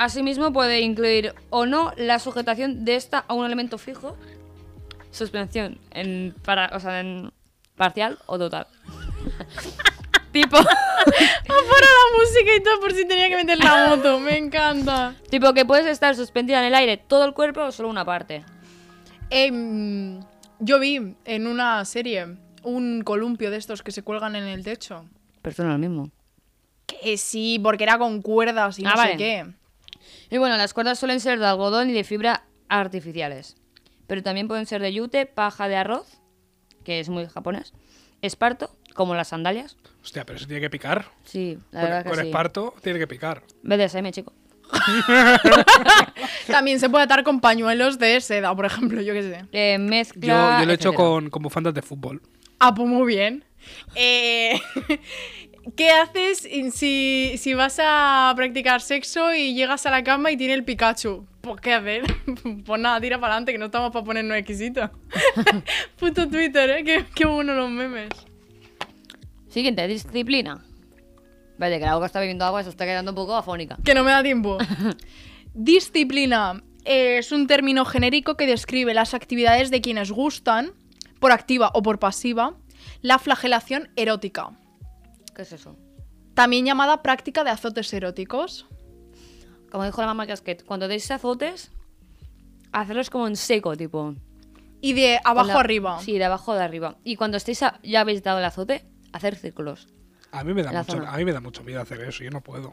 Speaker 2: Asimismo, puede incluir o no la sujetación de esta a un elemento fijo, suspensión en, para, o sea, en parcial o total. tipo,
Speaker 3: Para la música y todo, por si tenía que meter la moto. Me encanta.
Speaker 2: tipo que puedes estar suspendida en el aire todo el cuerpo o solo una parte.
Speaker 3: Em, yo vi en una serie un columpio de estos que se cuelgan en el techo.
Speaker 2: Persona lo mismo.
Speaker 3: Que sí, porque era con cuerdas y
Speaker 2: Ah,
Speaker 3: no
Speaker 2: vale.
Speaker 3: sé qué.
Speaker 2: Y bueno, las cuerdas suelen ser de algodón y de fibra artificiales. Pero también pueden ser de yute, paja de arroz, que es muy japonés, esparto, como las sandalias.
Speaker 4: Hostia, pero eso tiene que picar.
Speaker 2: Sí, la
Speaker 4: con
Speaker 2: verdad que
Speaker 4: con
Speaker 2: sí.
Speaker 4: esparto tiene que picar.
Speaker 2: BDSM, chico.
Speaker 3: También se puede atar con pañuelos de seda, por ejemplo, yo qué sé.
Speaker 2: Eh,
Speaker 4: Yo,
Speaker 2: mezcla.
Speaker 4: yo lo he hecho
Speaker 2: etcétera.
Speaker 4: con, con bufandas de fútbol.
Speaker 3: Ah, pues muy bien. Eh, ¿Qué haces si, si vas a practicar sexo y llegas a la cama y tiene el Pikachu? Pues qué hacer. Pues nada, tira para adelante, que no estamos para ponernos exquisitos. Puto Twitter, ¿eh? Qué, qué bueno los memes.
Speaker 2: Siguiente, disciplina. Vale, que la boca está bebiendo agua, se está quedando un poco afónica.
Speaker 3: Que no me da tiempo. Disciplina eh, es un término genérico que describe las actividades de quienes gustan, por activa o por pasiva, la flagelación erótica,
Speaker 2: ¿Qué es eso?
Speaker 3: también llamada práctica de azotes eróticos.
Speaker 2: Como dijo la mamá Casquet, cuando deis azotes, hacerlos como en seco, tipo.
Speaker 3: Y de abajo
Speaker 2: Con la-
Speaker 3: arriba.
Speaker 2: Sí, de abajo de arriba. Y cuando estéis a- ya habéis dado el azote, hacer círculos.
Speaker 4: A mí me da
Speaker 2: La
Speaker 4: mucho,
Speaker 2: zona.
Speaker 4: a mí me da mucho miedo hacer eso, yo no puedo.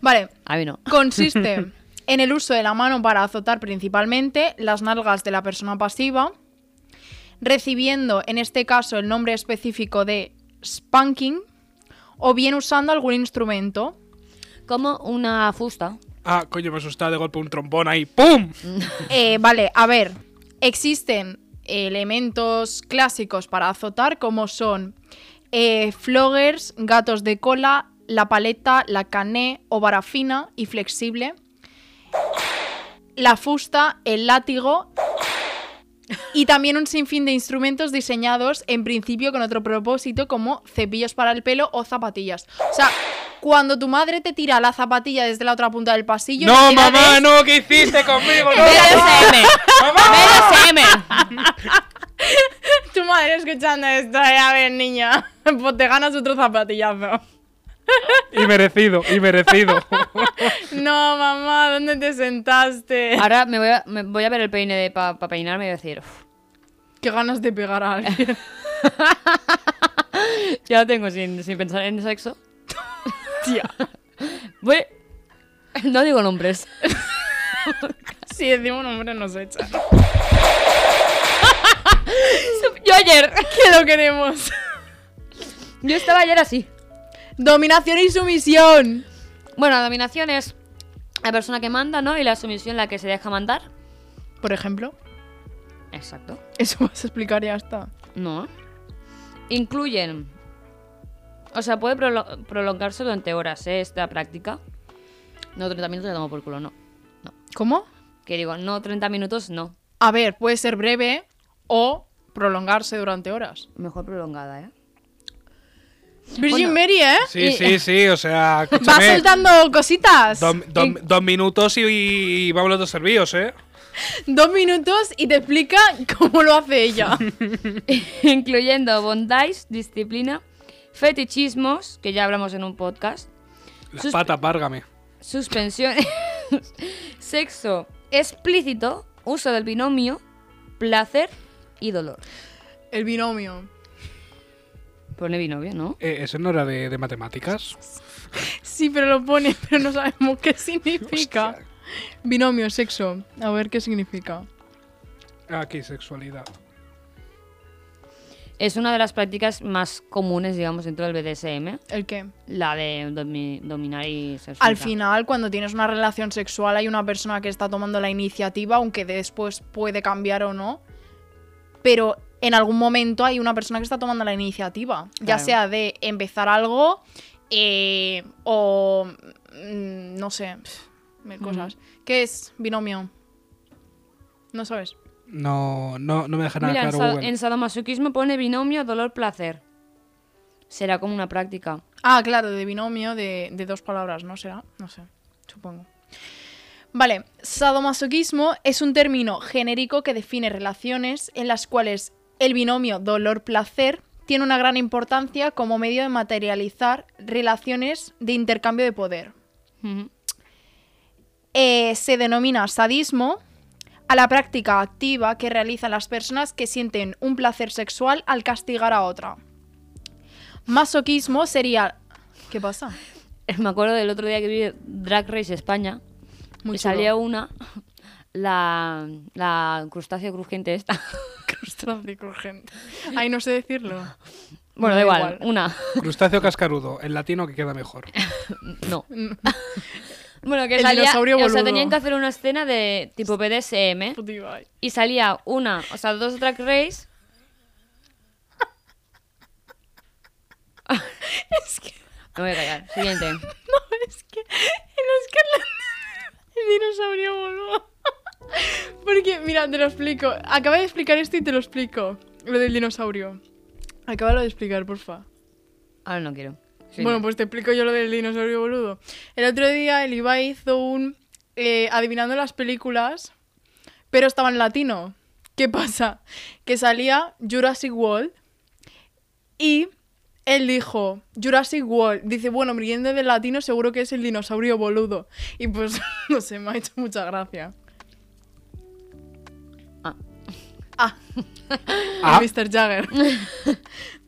Speaker 3: Vale,
Speaker 2: A mí no.
Speaker 3: consiste en el uso de la mano para azotar principalmente las nalgas de la persona pasiva, recibiendo en este caso el nombre específico de spanking, o bien usando algún instrumento.
Speaker 2: Como una fusta.
Speaker 4: Ah, coño, me asustaba de golpe un trombón ahí. ¡Pum!
Speaker 3: Eh, vale, a ver, existen elementos clásicos para azotar como son eh, floggers, gatos de cola, la paleta, la cané o vara fina y flexible, la fusta, el látigo y también un sinfín de instrumentos diseñados en principio con otro propósito como cepillos para el pelo o zapatillas. O sea, cuando tu madre te tira la zapatilla desde la otra punta del pasillo...
Speaker 4: ¡No,
Speaker 3: te la
Speaker 4: mamá!
Speaker 3: des-
Speaker 4: ¡No! ¿Qué hiciste conmigo? ¡No!
Speaker 3: BDSM.
Speaker 4: ¡Mamá!
Speaker 3: Tu madre escuchando esto, eh, a ver, niña, pues te ganas otro zapatillazo.
Speaker 4: Y merecido, y merecido.
Speaker 3: No, mamá, ¿dónde te sentaste?
Speaker 2: Ahora me voy a, me voy a ver el peine de para peinarme y decir, "Uf,
Speaker 3: Qué ganas de pegar a alguien.
Speaker 2: ya lo tengo sin, sin pensar en sexo.
Speaker 3: Tía,
Speaker 2: Voy... No digo nombres.
Speaker 3: si decimos un hombre nos echa.
Speaker 2: Yo ayer,
Speaker 3: ¿Qué lo queremos?
Speaker 2: yo estaba ayer así.
Speaker 3: Dominación y sumisión.
Speaker 2: Bueno, la dominación es la persona que manda, ¿no? Y la sumisión la que se deja mandar.
Speaker 3: Por ejemplo,
Speaker 2: Exacto.
Speaker 3: eso vas a explicar y ya está.
Speaker 2: No. Incluyen. O sea, puede prolo- prolongarse durante horas ¿eh? esta práctica. No 30 minutos, ya tomo por culo, no.
Speaker 3: ¿Cómo?
Speaker 2: Que digo, no 30 minutos, no.
Speaker 3: A ver, puede ser breve o prolongarse durante horas.
Speaker 2: Mejor prolongada, ¿eh?
Speaker 3: Virgin
Speaker 2: Bueno.
Speaker 3: Mary, ¿eh?
Speaker 4: Sí, sí, sí, o sea,
Speaker 3: Va
Speaker 4: escúchame.
Speaker 3: soltando cositas.
Speaker 4: Dos, dos-
Speaker 2: Y-
Speaker 4: dos minutos y, y vamos los dos servidos, ¿eh?
Speaker 3: Dos minutos y te explica cómo lo hace ella.
Speaker 2: Incluyendo bondage, disciplina, fetichismos, que ya hablamos en un podcast,
Speaker 4: Las
Speaker 2: Sus-
Speaker 4: patas, várgame.
Speaker 2: suspensiones, sexo explícito, uso del binomio, placer y dolor.
Speaker 3: El binomio.
Speaker 2: Pone binomio, ¿no?
Speaker 4: Eh, ¿Eso no era de, de matemáticas?
Speaker 3: Sí, pero lo pone, pero no sabemos qué significa. Binomio, sexo. A ver qué significa.
Speaker 4: Aquí, Ah, sexualidad.
Speaker 2: Es una de las prácticas más comunes, digamos, dentro del BDSM,
Speaker 3: ¿El qué?
Speaker 2: la de domi- dominar y ser
Speaker 3: Al
Speaker 2: sumisa.
Speaker 3: final, cuando tienes una relación sexual, hay una persona que está tomando la iniciativa, aunque después puede cambiar o no. Pero en algún momento hay una persona que está tomando la iniciativa. Ya
Speaker 2: Claro.
Speaker 3: sea de empezar algo eh, o. mm, no sé. pf, mil cosas. ¿Qué es binomio? No sabes.
Speaker 4: No, no, no me deja nada
Speaker 2: Mira, en,
Speaker 4: claro
Speaker 2: sa-
Speaker 4: Google.
Speaker 2: en sadomasoquismo pone binomio, dolor, placer. Será como una práctica.
Speaker 3: Ah, claro, de binomio, de, de dos palabras, ¿no será? No sé, supongo. Vale, sadomasoquismo es un término genérico que define relaciones en las cuales el binomio dolor-placer tiene una gran importancia como medio de materializar relaciones de intercambio de poder.
Speaker 2: Ujú.
Speaker 3: Eh, se denomina sadismo a la práctica activa que realizan las personas que sienten un placer sexual al castigar a otra. Masoquismo sería... ¿Qué pasa?
Speaker 2: Me acuerdo del otro día que vi Drag Race España.
Speaker 3: Muy
Speaker 2: y
Speaker 3: chulo.
Speaker 2: salió una, la, la crustáceo crujiente esta.
Speaker 3: Crustáceo gente. Ay, no sé decirlo.
Speaker 2: Bueno, da
Speaker 3: da
Speaker 2: igual,
Speaker 3: igual.
Speaker 2: una.
Speaker 4: Crustáceo cascarudo, en latino que queda mejor.
Speaker 2: No. bueno, que
Speaker 3: El
Speaker 2: salía,
Speaker 3: dinosaurio
Speaker 2: o sea,
Speaker 3: boludo.
Speaker 2: tenían que hacer una escena de tipo BDSM. Y salía una, o sea, dos drag race. Me voy a callar. Siguiente.
Speaker 3: No, es que. Es que el- el dinosaurio voló. Porque, mira, te lo explico. Acaba de explicar esto y te lo explico. Lo del dinosaurio. Acábalo de explicar, porfa.
Speaker 2: Ahora no quiero.
Speaker 3: Bueno, pues te explico yo lo del dinosaurio boludo. El otro día el Ibai hizo un eh, adivinando las películas, pero estaba en latino. ¿Qué pasa? Que salía Jurassic World y él dijo Jurassic World. Dice, bueno, riendo del latino seguro que es el dinosaurio boludo. Y pues, no sé, me ha hecho mucha gracia.
Speaker 2: Ah.
Speaker 3: Ah,
Speaker 4: Ah.
Speaker 3: Mr. Jagger.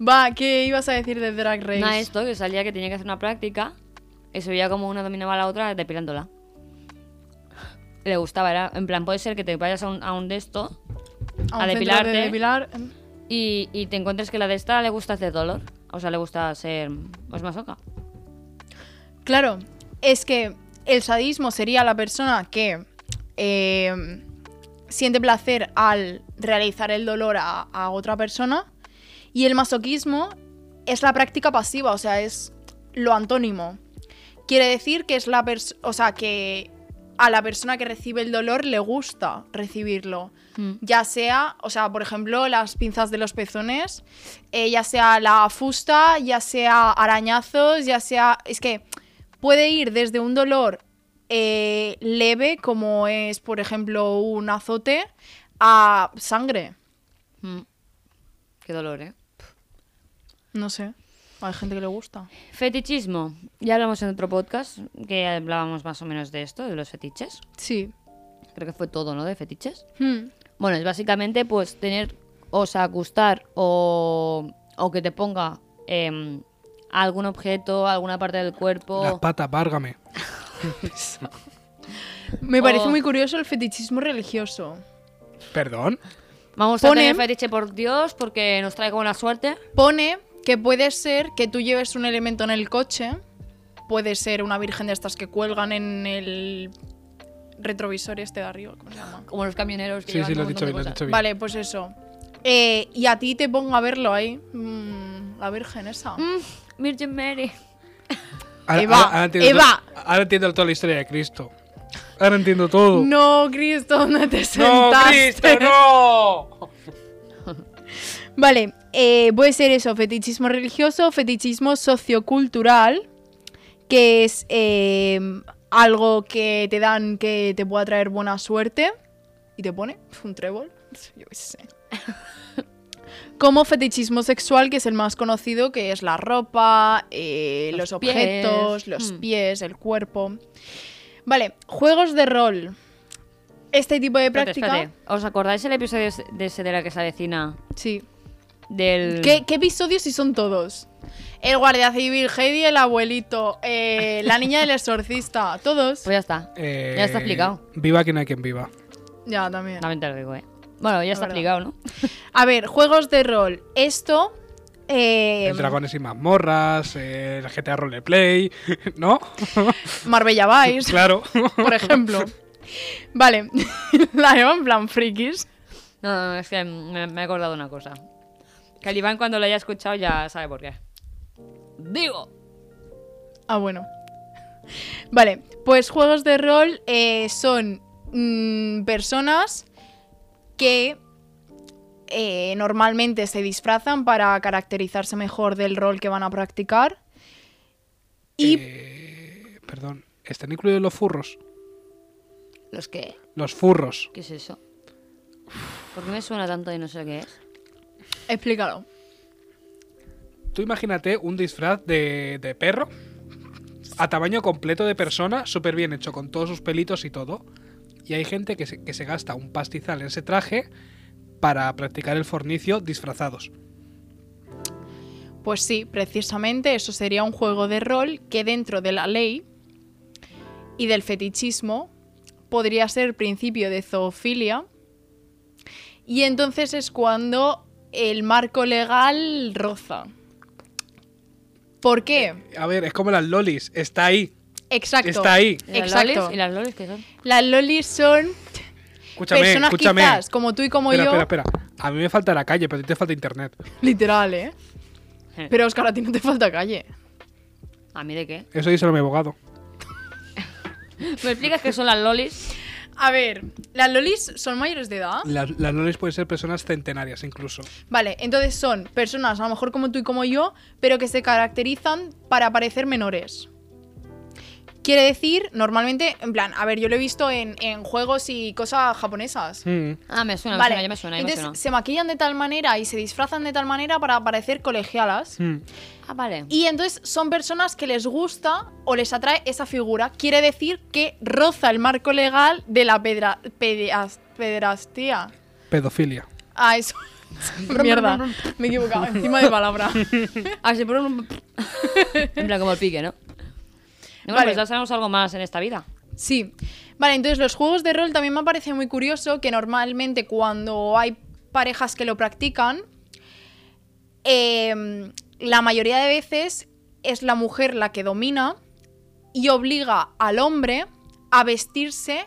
Speaker 3: Va, ¿qué ibas a decir de Drag Race?
Speaker 2: Nada, esto que salía que tenía que hacer una práctica. Y se veía como una dominaba a la otra depilándola. le gustaba. Era, en plan, puede ser que te vayas a un, a un de esto
Speaker 3: A un
Speaker 2: A
Speaker 3: centro
Speaker 2: depilarte.
Speaker 3: de depilar.
Speaker 2: y, y te encuentres que la de esta le gusta hacer dolor. O sea, le gusta ser. Pues masoca.
Speaker 3: Claro, es que el sadismo sería la persona que eh, siente placer al realizar el dolor a, a otra persona y el masoquismo es la práctica pasiva, o sea, es lo antónimo. Quiere decir que es la pers- o sea, que a la persona que recibe el dolor le gusta recibirlo.
Speaker 2: Mm,
Speaker 3: Ya sea, o sea, por ejemplo, las pinzas de los pezones, eh, ya sea la fusta, ya sea arañazos, ya sea. Es que puede ir desde un dolor eh, leve, como es, por ejemplo, un azote, a sangre.
Speaker 2: Mm. Qué dolor, ¿eh?
Speaker 3: No sé. Hay gente que le gusta.
Speaker 2: Fetichismo. Ya hablamos en otro podcast que hablábamos más o menos de esto, de los fetiches.
Speaker 3: Sí.
Speaker 2: Creo que fue todo, ¿no? De fetiches.
Speaker 3: Hmm.
Speaker 2: Bueno, es básicamente pues tener, o sea, gustar o, o que te ponga em, algún objeto, alguna parte del cuerpo.
Speaker 4: Las patas, várgame.
Speaker 3: Me parece
Speaker 2: O-
Speaker 3: muy curioso el fetichismo religioso.
Speaker 4: Perdón.
Speaker 2: Vamos a
Speaker 3: Ponen-
Speaker 2: tener fetiche por Dios porque nos trae buena suerte.
Speaker 3: Pone que puede ser que tú lleves un elemento en el coche, puede ser una virgen de estas que cuelgan en el retrovisor este de arriba, ¿cómo se llama?
Speaker 2: Como los camioneros que
Speaker 4: Sí,
Speaker 2: llevan
Speaker 4: sí, lo has
Speaker 2: un
Speaker 4: dicho bien, lo has
Speaker 2: montón de
Speaker 4: dicho bien.
Speaker 3: Vale, pues eso. Eh, y a ti te pongo a verlo ahí. Mm, la virgen esa.
Speaker 2: cosas. Mm, Virgin Mary.
Speaker 4: Ahora,
Speaker 3: Eva,
Speaker 4: ahora- ahora entiendo,
Speaker 3: Eva.
Speaker 4: ahora entiendo toda la historia de Cristo. Ahora entiendo todo.
Speaker 3: No, Cristo, ¿dónde te
Speaker 4: ¡No,
Speaker 3: sentaste?
Speaker 4: Cristo, no!
Speaker 3: Vale, eh, puede ser eso, fetichismo religioso, fetichismo sociocultural, que es eh, algo que te dan que te pueda traer buena suerte y te pone un trébol, yo qué sé. Como fetichismo sexual, que es el más conocido, que es la ropa, eh, los,
Speaker 2: Los pies.
Speaker 3: objetos, los
Speaker 2: Hmm.
Speaker 3: pies, el cuerpo. Vale, juegos de rol. Este tipo de
Speaker 2: Espérate,
Speaker 3: práctica.
Speaker 2: espérate. ¿Os acordáis el episodio ese- de ese de la que se avecina?
Speaker 3: Sí.
Speaker 2: Del...
Speaker 3: ¿Qué, qué episodios si son todos? El guardia civil, Heidi, el abuelito, eh, la niña del exorcista, todos.
Speaker 2: Pues ya está.
Speaker 4: Eh,
Speaker 2: Ya está explicado.
Speaker 4: Viva quien hay quien viva.
Speaker 3: Ya, también.
Speaker 2: También te lo digo, ¿eh? Bueno, ya está
Speaker 3: verdad.
Speaker 2: explicado, ¿no?
Speaker 3: A ver, juegos de rol. Esto. eh,
Speaker 2: Em.
Speaker 4: El Dragones y mazmorras, el GTA Roleplay, ¿no?
Speaker 3: Marbella Vice,
Speaker 4: Claro.
Speaker 3: por ejemplo. Vale, la llevo en plan frikis.
Speaker 2: No, no, no, es que me, me he acordado una cosa. Calibán cuando lo haya escuchado ya sabe por qué. Digo.
Speaker 3: Ah, bueno. Vale, pues juegos de rol eh, son mm, personas que eh, normalmente se disfrazan para caracterizarse mejor del rol que van a practicar. Y
Speaker 4: Eh, perdón. ¿Están incluidos los furros?
Speaker 2: ¿Los qué?
Speaker 4: Los furros.
Speaker 2: ¿Qué es eso? ¿Por qué me suena tanto y no sé qué es?
Speaker 3: explícalo.
Speaker 4: Tú imagínate un disfraz de, de perro a tamaño completo de persona, súper bien hecho, con todos sus pelitos y todo. Y hay gente que se, que se gasta un pastizal en ese traje para practicar el fornicio disfrazados.
Speaker 3: Pues sí, precisamente eso sería un juego de rol que dentro de la ley y del fetichismo podría ser principio de zoofilia. Y entonces es cuando el marco legal roza. ¿Por qué?
Speaker 4: A ver, es como las lolis. Está ahí.
Speaker 3: Exacto.
Speaker 4: Eh, Está ahí.
Speaker 2: ¿Y las
Speaker 3: Exacto.
Speaker 2: lolis? ¿Y las lolis qué son?
Speaker 3: Las lolis son
Speaker 4: Escúchame,
Speaker 3: personas
Speaker 4: escúchame.
Speaker 3: quizás como tú y como
Speaker 4: espera,
Speaker 3: yo.
Speaker 4: espera, espera. A mí me falta la calle, pero a ti te falta internet.
Speaker 3: Literal, ¿eh? Pero Oscar, a ti no te falta calle.
Speaker 2: ¿A mí de qué?
Speaker 4: Eso dice mi abogado.
Speaker 2: ¿Me explicas qué son las lolis?
Speaker 3: A ver, las lolis son mayores de edad.
Speaker 4: Las, las lolis pueden ser personas centenarias incluso.
Speaker 3: Vale, entonces son personas a lo mejor como tú y como yo, pero que se caracterizan para parecer menores. Quiere decir, normalmente, en plan, a ver, yo lo he visto en, en juegos y cosas japonesas.
Speaker 4: Mm.
Speaker 2: Ah, me suena,
Speaker 3: vale,
Speaker 2: me suena, ya me suena, ya me
Speaker 3: entonces
Speaker 2: suena.
Speaker 3: se maquillan de tal manera y se disfrazan de tal manera para parecer colegialas.
Speaker 4: Mm.
Speaker 2: Ah, vale.
Speaker 3: Y entonces son personas que les gusta o les atrae esa figura. Quiere decir que roza el marco legal de la pedra, pedeas- pedrastía.
Speaker 4: Pedofilia.
Speaker 3: Ah, eso. Mierda. Me he equivocado. Encima de palabra.
Speaker 2: Ah, sí, por un... En plan, como el pique, ¿no? No, bueno,
Speaker 3: Vale.
Speaker 2: pues ya sabemos algo más en esta vida.
Speaker 3: Sí. Vale, entonces los juegos de rol también me parece muy curioso que normalmente cuando hay parejas que lo practican, eh, la mayoría de veces es la mujer la que domina y obliga al hombre a vestirse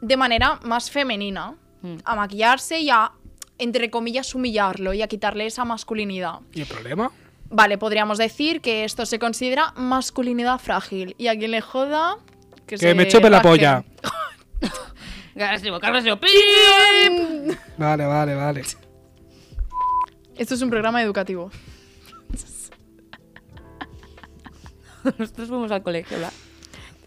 Speaker 3: de manera más femenina,
Speaker 2: Mm.
Speaker 3: a maquillarse y a, entre comillas, humillarlo y a quitarle esa masculinidad.
Speaker 4: ¿Y el problema?
Speaker 3: Vale, podríamos decir que esto se considera masculinidad frágil. Y a quien le joda. Que,
Speaker 4: Que
Speaker 3: se
Speaker 4: me chupe la
Speaker 3: raje.
Speaker 4: polla.
Speaker 2: Carlos Evo, Carlos Evo, pi.
Speaker 4: Vale, vale, vale.
Speaker 3: Esto es un programa educativo.
Speaker 2: Nosotros fuimos al colegio, ¿verdad?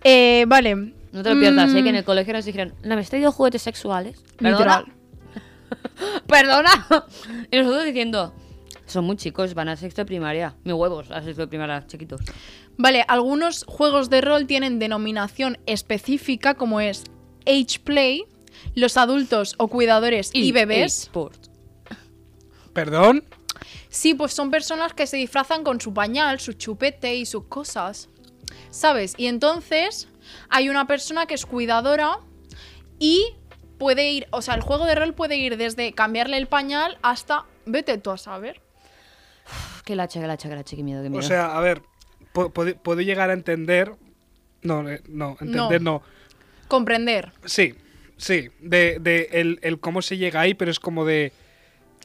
Speaker 3: Eh, vale.
Speaker 2: No te lo pierdas, ¿eh?
Speaker 3: Mm,
Speaker 2: que en el colegio nos dijeron, la habéis traído juguetes sexuales.
Speaker 3: Literal.
Speaker 2: Perdona. Y nosotros diciendo, son muy chicos, van a sexto de primaria. Mi huevos, a sexto de primaria, chiquitos.
Speaker 3: Vale, algunos juegos de rol tienen denominación específica, como es Age Play, los adultos o cuidadores y, bebés.
Speaker 2: eSports.
Speaker 4: ¿Perdón?
Speaker 3: Sí, pues son personas que se disfrazan con su pañal, su chupete y sus cosas. ¿Sabes? Y entonces hay una persona que es cuidadora y puede ir, o sea, el juego de rol puede ir desde cambiarle el pañal hasta vete tú a saber.
Speaker 2: Uf, Qué lacha, qué lacha, qué lacha, qué miedo, qué miedo.
Speaker 4: O sea, a ver, po- puede- puedo llegar a entender. No, eh, no, entender no.
Speaker 3: Comprender.
Speaker 4: Sí, sí, de, de el, el cómo se llega ahí, pero es como de.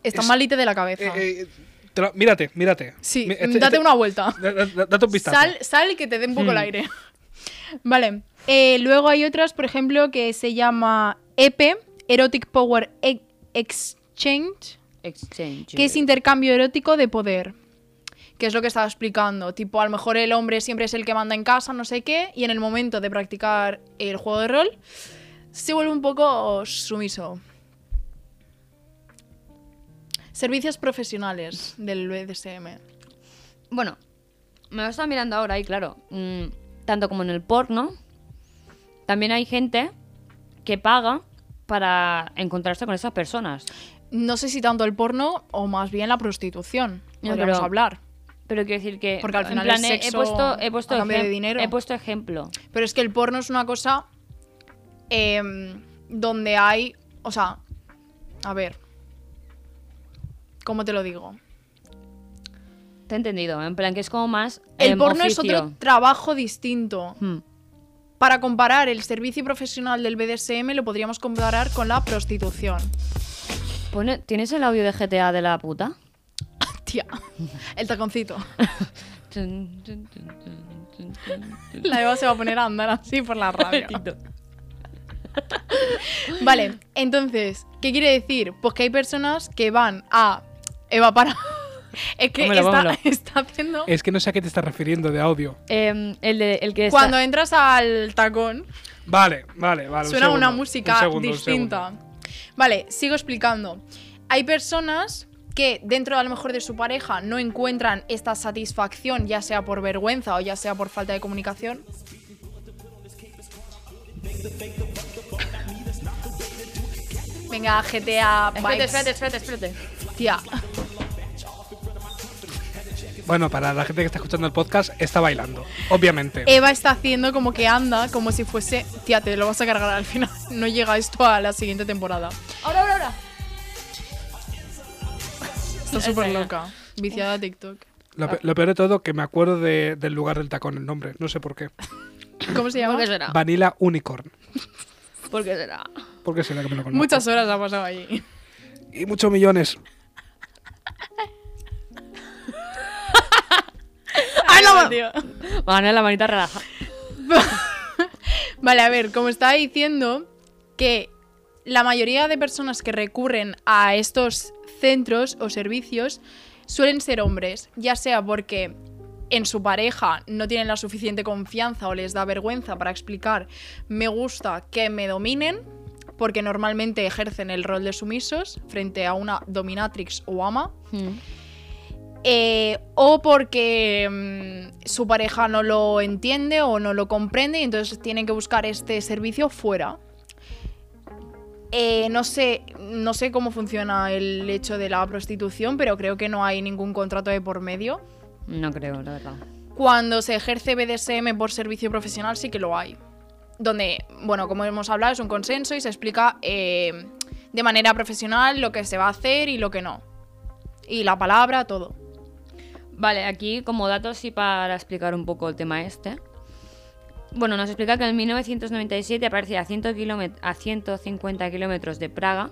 Speaker 3: Está
Speaker 4: Es-
Speaker 3: malite de la
Speaker 4: eh,
Speaker 3: cabeza.
Speaker 4: eh, te lo- mírate, mírate.
Speaker 3: sí,
Speaker 4: Mi- este-
Speaker 3: date
Speaker 4: este-
Speaker 3: una vuelta.
Speaker 4: da- da- da- Date un vistazo. Mm.
Speaker 3: Sal, sal que te dé un poco el aire. Vale. Eh, luego hay otras, por ejemplo, que se llama EPE, Erotic Power E- Exchange.
Speaker 2: Exchange.
Speaker 3: que es intercambio erótico de poder. Que es lo que estaba explicando. Tipo, a lo mejor el hombre siempre es el que manda en casa, no sé qué, y en el momento de practicar el juego de rol, se vuelve un poco sumiso. Servicios profesionales del BDSM.
Speaker 2: Bueno, me lo estaba mirando ahora y claro, mm, tanto como en el porno, también hay gente que paga para encontrarse con esas personas.
Speaker 3: No sé si tanto el porno o más bien la prostitución.
Speaker 2: No,
Speaker 3: Podríamos
Speaker 2: pero-
Speaker 3: hablar.
Speaker 2: Pero quiero decir que
Speaker 3: Porque al
Speaker 2: en
Speaker 3: final
Speaker 2: plan,
Speaker 3: el
Speaker 2: he- he
Speaker 3: sexo
Speaker 2: puesto he puesto
Speaker 3: a cambio de
Speaker 2: ejem-
Speaker 3: dinero.
Speaker 2: He puesto ejemplo.
Speaker 3: Pero es que el porno es una cosa em, donde hay, o sea, a ver, ¿cómo te lo digo?
Speaker 2: Te he entendido, en plan que es como más
Speaker 3: El
Speaker 2: em,
Speaker 3: porno es
Speaker 2: oficio.
Speaker 3: otro trabajo distinto.
Speaker 2: Hmm.
Speaker 3: Para comparar el servicio profesional del BDSM lo podríamos comparar con la prostitución.
Speaker 2: Pone- ¿Tienes el audio de GTA de la puta?
Speaker 3: Tía, el taconcito. La Eva se va a poner a andar así por la rabia. Vale, entonces, ¿qué quiere decir? Pues que hay personas que van a... Eva, para. Es que
Speaker 2: Pónmelo, pónmelo.
Speaker 3: está, está haciendo...
Speaker 4: Es que no sé a qué te estás refiriendo de audio.
Speaker 2: Em, el, de- el que está-
Speaker 3: Cuando entras al tacón,
Speaker 4: Vale, vale, vale. un
Speaker 3: suena
Speaker 4: segundo,
Speaker 3: una
Speaker 4: un
Speaker 3: música
Speaker 4: segundo, un
Speaker 3: distinta. Vale, sigo explicando. Hay personas que dentro a lo mejor de su pareja no encuentran esta satisfacción, ya sea por vergüenza o ya sea por falta de comunicación. Venga, GTA.
Speaker 2: Espérate,
Speaker 3: vibes.
Speaker 2: espérate, espérate, espérate.
Speaker 3: Tía,
Speaker 4: segundo. Bueno, para la gente que está escuchando el podcast, está bailando, obviamente.
Speaker 3: Eva está haciendo como que anda, como si fuese. Tía, te lo vas a cargar al final. No llega esto a la siguiente temporada.
Speaker 2: Ahora, ahora, ahora.
Speaker 3: Está súper loca. Viciada a TikTok.
Speaker 4: Lo, pe- lo peor de todo, que me acuerdo de- del lugar del tacón, el nombre, no sé por qué.
Speaker 3: ¿Cómo se
Speaker 2: ¿Por
Speaker 3: llama?
Speaker 2: qué será?
Speaker 4: Vanilla Unicorn.
Speaker 2: ¿Por qué será?
Speaker 4: ¿Por qué será que me lo conozco?
Speaker 3: Muchas horas ha pasado allí.
Speaker 4: Y muchos millones.
Speaker 3: ¡Ay, la tío!
Speaker 2: Vale, la manita relaja.
Speaker 3: Vale, a ver, como estaba diciendo, que la mayoría de personas que recurren a estos centros o servicios suelen ser hombres, ya sea porque en su pareja no tienen la suficiente confianza o les da vergüenza para explicar me gusta que me dominen, porque normalmente ejercen el rol de sumisos frente a una dominatrix o ama.
Speaker 2: Hmm.
Speaker 3: Eh, o porque mm, su pareja no lo entiende o no lo comprende y entonces tienen que buscar este servicio fuera. Eh, no, sé, no sé cómo funciona el hecho de la prostitución, pero creo que no hay ningún contrato de por medio.
Speaker 2: No creo, la verdad.
Speaker 3: Cuando se ejerce BDSM por servicio profesional sí que lo hay. donde, bueno, como hemos hablado, es un consenso y se explica eh, de manera profesional lo que se va a hacer y lo que no. Y la palabra, todo.
Speaker 2: Vale, aquí como datos y para explicar un poco el tema este. Bueno, nos explica que en 1997 aparece a, 100 kilómet- a 150 kilómetros de Praga,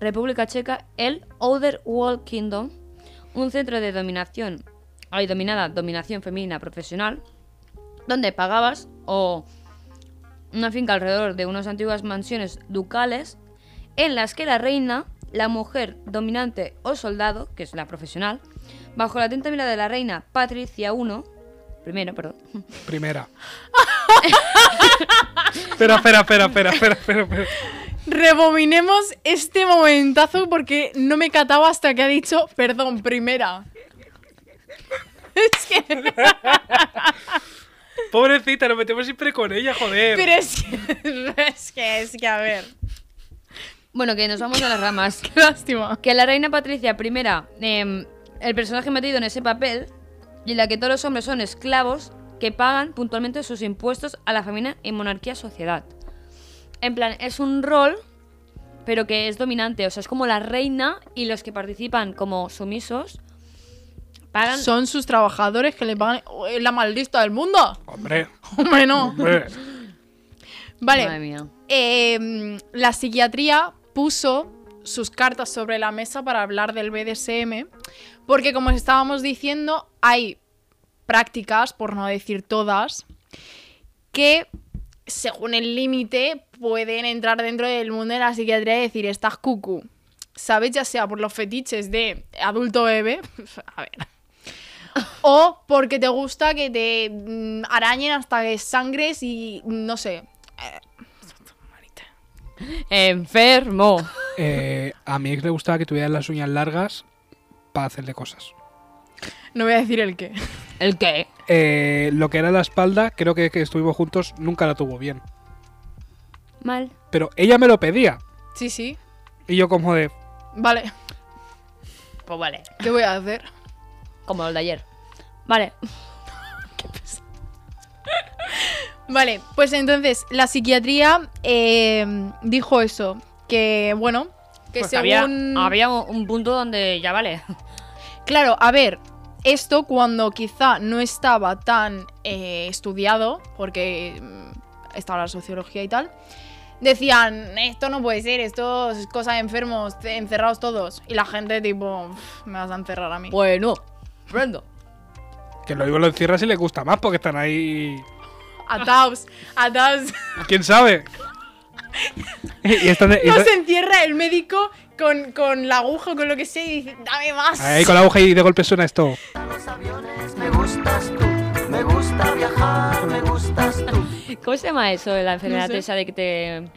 Speaker 2: República Checa, el Other World Kingdom, un centro de dominación, ahí dominada dominación femenina profesional, donde pagabas o una finca alrededor de unas antiguas mansiones ducales en las que la reina, la mujer dominante o soldado, que es la profesional, bajo la atenta mirada de la reina Patricia I, primero, perdón,
Speaker 4: Primera. espera, espera, espera, espera, espera, espera, espera.
Speaker 3: Rebobinemos este momentazo porque no me cataba hasta que ha dicho, perdón, primera. Es que,
Speaker 4: Pobrecita, nos metemos siempre con ella, joder.
Speaker 3: pero es que, es que, es que, a ver.
Speaker 2: Bueno, que nos vamos a las ramas.
Speaker 3: Qué lástima.
Speaker 2: Que la reina Patricia I, em, el personaje metido en ese papel, y en la que todos los hombres son esclavos que pagan puntualmente sus impuestos a la familia en monarquía sociedad. En plan, es un rol, pero que es dominante. O sea, es como la reina y los que participan como sumisos pagan.
Speaker 3: Son sus trabajadores que le pagan ¡Oh, es la maldita del mundo.
Speaker 4: Hombre,
Speaker 3: Hombre, no.
Speaker 4: hombre.
Speaker 3: Vale.
Speaker 2: Madre mía.
Speaker 3: Eh, la psiquiatría puso sus cartas sobre la mesa para hablar del BDSM, porque como os estábamos diciendo, hay prácticas, por no decir todas, que según el límite pueden entrar dentro del mundo de la psiquiatría y decir, estás cucu. ¿Sabes? Ya sea por los fetiches de adulto bebé, a ver, o porque te gusta que te mm, arañen hasta que sangres y no sé,
Speaker 2: Enfermo.
Speaker 4: Eh, a mi ex le gustaba que tuviera las uñas largas para hacerle cosas.
Speaker 3: No voy a decir el qué.
Speaker 2: ¿El qué?
Speaker 4: Eh, lo que era la espalda, creo que, que estuvimos juntos, nunca la tuvo bien.
Speaker 2: Mal.
Speaker 4: Pero ella me lo pedía.
Speaker 3: Sí, sí.
Speaker 4: Y yo como de...
Speaker 3: Vale.
Speaker 2: Pues vale.
Speaker 3: ¿Qué voy a hacer?
Speaker 2: Como el de ayer. Vale.
Speaker 3: Vale, pues entonces la psiquiatría eh, dijo eso. Que bueno, que
Speaker 2: Pues había,
Speaker 3: según.
Speaker 2: había un punto donde ya vale.
Speaker 3: Claro, a ver, esto cuando quizá no estaba tan eh, estudiado, porque mm, estaba la sociología y tal, decían, esto no puede ser, esto es cosa de enfermos, te- encerrados todos. Y la gente tipo, "Uf, me vas a encerrar a mí.
Speaker 2: Bueno, prendo.
Speaker 4: Que lo digo, lo encierras y le gusta más porque están ahí...
Speaker 3: Ataos, ataos.
Speaker 4: ¿Quién sabe? y están... y
Speaker 3: No
Speaker 4: están-
Speaker 3: se encierra el médico con, con la aguja, con lo que sea, y dice, dame más.
Speaker 4: Ahí con la aguja y de golpe suena esto.
Speaker 5: los aviones, me gustas tú, me gusta viajar, me gustas tú.
Speaker 2: ¿Cómo se llama eso? La enfermedad
Speaker 3: sé.
Speaker 2: esa de que te,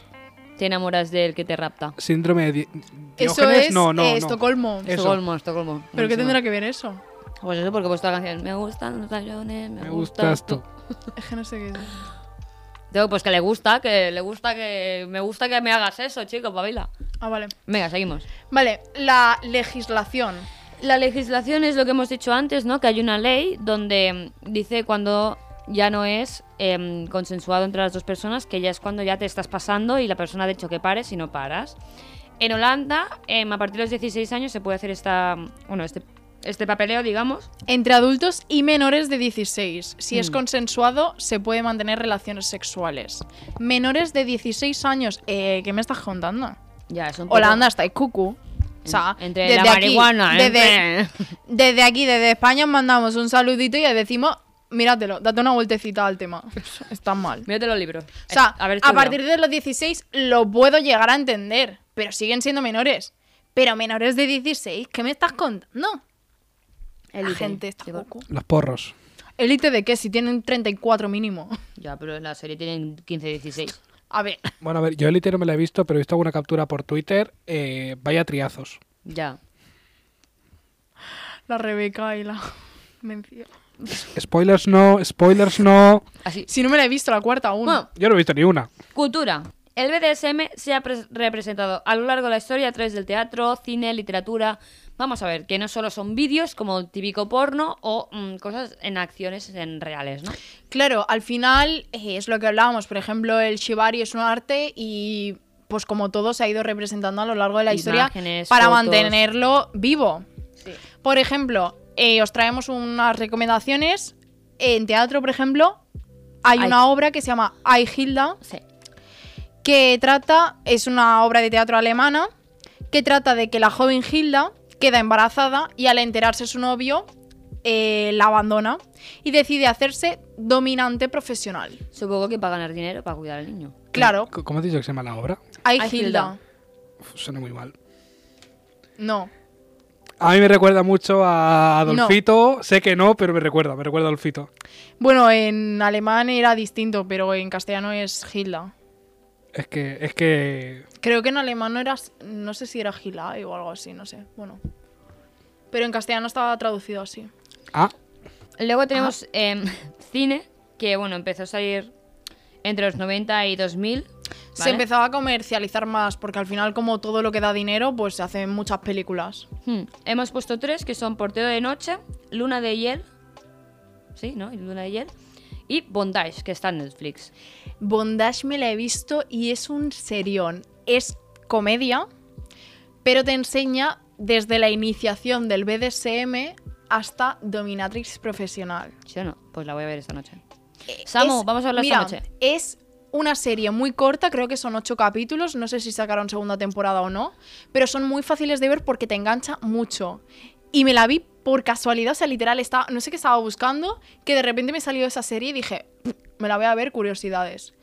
Speaker 2: te enamoras del que te rapta.
Speaker 4: Síndrome de... Di-
Speaker 3: Eso
Speaker 4: Diógenes,
Speaker 3: es
Speaker 4: no, no,
Speaker 3: eh,
Speaker 4: no.
Speaker 3: Estocolmo.
Speaker 4: Eso.
Speaker 2: Estocolmo, Estocolmo.
Speaker 3: ¿Pero qué
Speaker 2: Buenísimo.
Speaker 3: tendrá que ver eso?
Speaker 2: Pues eso, porque he puesto la canción. Me gustan los aviones, me,
Speaker 4: Me gustas tú.
Speaker 3: Es que no sé qué es. eso.
Speaker 2: Digo, pues que le gusta, que le gusta que. Me gusta que me hagas eso, chicos, pabila.
Speaker 3: Ah, vale.
Speaker 2: Venga, seguimos.
Speaker 3: Vale, la legislación.
Speaker 2: La legislación es lo que hemos dicho antes, ¿no? Que hay una ley donde mm, dice cuando ya no es em, consensuado entre las dos personas, que ya es cuando ya te estás pasando y la persona ha dicho que pares y no paras. En Holanda, em, a partir de los 16 años se puede hacer esta, bueno, este, este papeleo, digamos.
Speaker 3: Entre adultos y menores de 16. Si
Speaker 4: Mm.
Speaker 3: es consensuado, se puede mantener relaciones sexuales. Menores de 16 años, eh, ¿qué me estás contando?
Speaker 2: Ya, es un poco-
Speaker 3: Holanda está ahí, cucu. O sea,
Speaker 2: entre
Speaker 3: desde
Speaker 2: la
Speaker 3: aquí,
Speaker 2: marihuana, ¿eh?
Speaker 3: desde, desde aquí, desde España, os mandamos un saludito y os decimos, míratelo, date una vueltecita al tema. Está mal.
Speaker 2: Mírate los libros. Eh,
Speaker 3: O sea, a,
Speaker 2: ver, estudia.
Speaker 3: partir de los 16 lo puedo llegar a entender, pero siguen siendo menores. Pero menores de 16, ¿qué me estás contando? La
Speaker 2: Élite,
Speaker 3: gente está
Speaker 2: digo.
Speaker 3: poco.
Speaker 4: Los porros.
Speaker 3: ¿Élite de qué? Si tienen 34 mínimo.
Speaker 2: Ya, pero en la serie tienen 15, 16.
Speaker 3: A ver,
Speaker 4: Bueno, a ver, yo el no me la he visto, pero he visto alguna captura por Twitter. Eh, vaya triazos.
Speaker 2: Ya.
Speaker 3: la Rebeca y la Mencía.
Speaker 4: Spoilers no, spoilers no.
Speaker 2: Así.
Speaker 3: Si no me la he visto, la cuarta aún.
Speaker 2: Bueno,
Speaker 4: Yo no he visto ni una.
Speaker 2: Cultura. El BDSM se ha pres- representado a lo largo de la historia a través del teatro, cine, literatura, Vamos a ver, que no solo son vídeos como el típico porno o mm, cosas en acciones en reales, ¿no?
Speaker 3: Claro, al final eh, es lo que hablábamos. Por ejemplo, el shibari es un arte y pues como todo se ha ido representando a lo largo de la historia
Speaker 2: Imágenes,
Speaker 3: para
Speaker 2: fotos.
Speaker 3: mantenerlo vivo. Por ejemplo, eh, os traemos unas recomendaciones. En teatro, por ejemplo, hay
Speaker 2: Ay.
Speaker 3: una obra que se llama Ay Hilda,
Speaker 2: Sí.
Speaker 3: que trata, es una obra de teatro alemana, que trata de que la joven Hilda queda embarazada y al enterarse su novio eh, la abandona y decide hacerse dominante profesional.
Speaker 2: Supongo que para ganar dinero, para cuidar al niño.
Speaker 3: Claro,
Speaker 4: C- ¿Cómo has dicho que se llama la obra?
Speaker 3: hay
Speaker 2: Ay,
Speaker 3: Hilda.
Speaker 2: Hilda.
Speaker 4: Uf, suena muy mal.
Speaker 3: No.
Speaker 4: A mí me recuerda mucho a Adolfito. Sé que no, pero me recuerda, me recuerda a Adolfito.
Speaker 3: Bueno, en alemán era distinto, pero en castellano es Hilda.
Speaker 4: Es que, es que.
Speaker 3: Creo que en alemán no era, no sé si era Gila o algo así, no sé. Bueno. Pero en castellano estaba traducido así.
Speaker 4: Ah,
Speaker 2: Luego tenemos em, cine, que bueno, empezó a salir entre los 90 y 2000.
Speaker 3: Se
Speaker 2: ¿vale?
Speaker 3: empezaba a comercializar más porque al final como todo lo que da dinero, pues se hacen muchas películas.
Speaker 2: Hmm. Hemos puesto tres, que son Portero de Noche, Luna de Hiel, sí, ¿no? Y Luna de Hiel, y Bondage, que está en Netflix.
Speaker 3: Bondage me la he visto y es un serión. Es comedia, pero te enseña desde la iniciación del BDSM hasta dominatrix profesional.
Speaker 2: ¿Sí o no? Pues la voy a ver esta noche. Samu, vamos a hablar
Speaker 3: mira,
Speaker 2: esta noche.
Speaker 3: Es una serie muy corta, creo que son ocho capítulos, no sé si sacaron segunda temporada o no, pero son muy fáciles de ver porque te engancha mucho. Y me la vi por casualidad, o sea, literal, estaba, no sé qué estaba buscando, que de repente me salió esa serie y dije, me la voy a ver, curiosidades.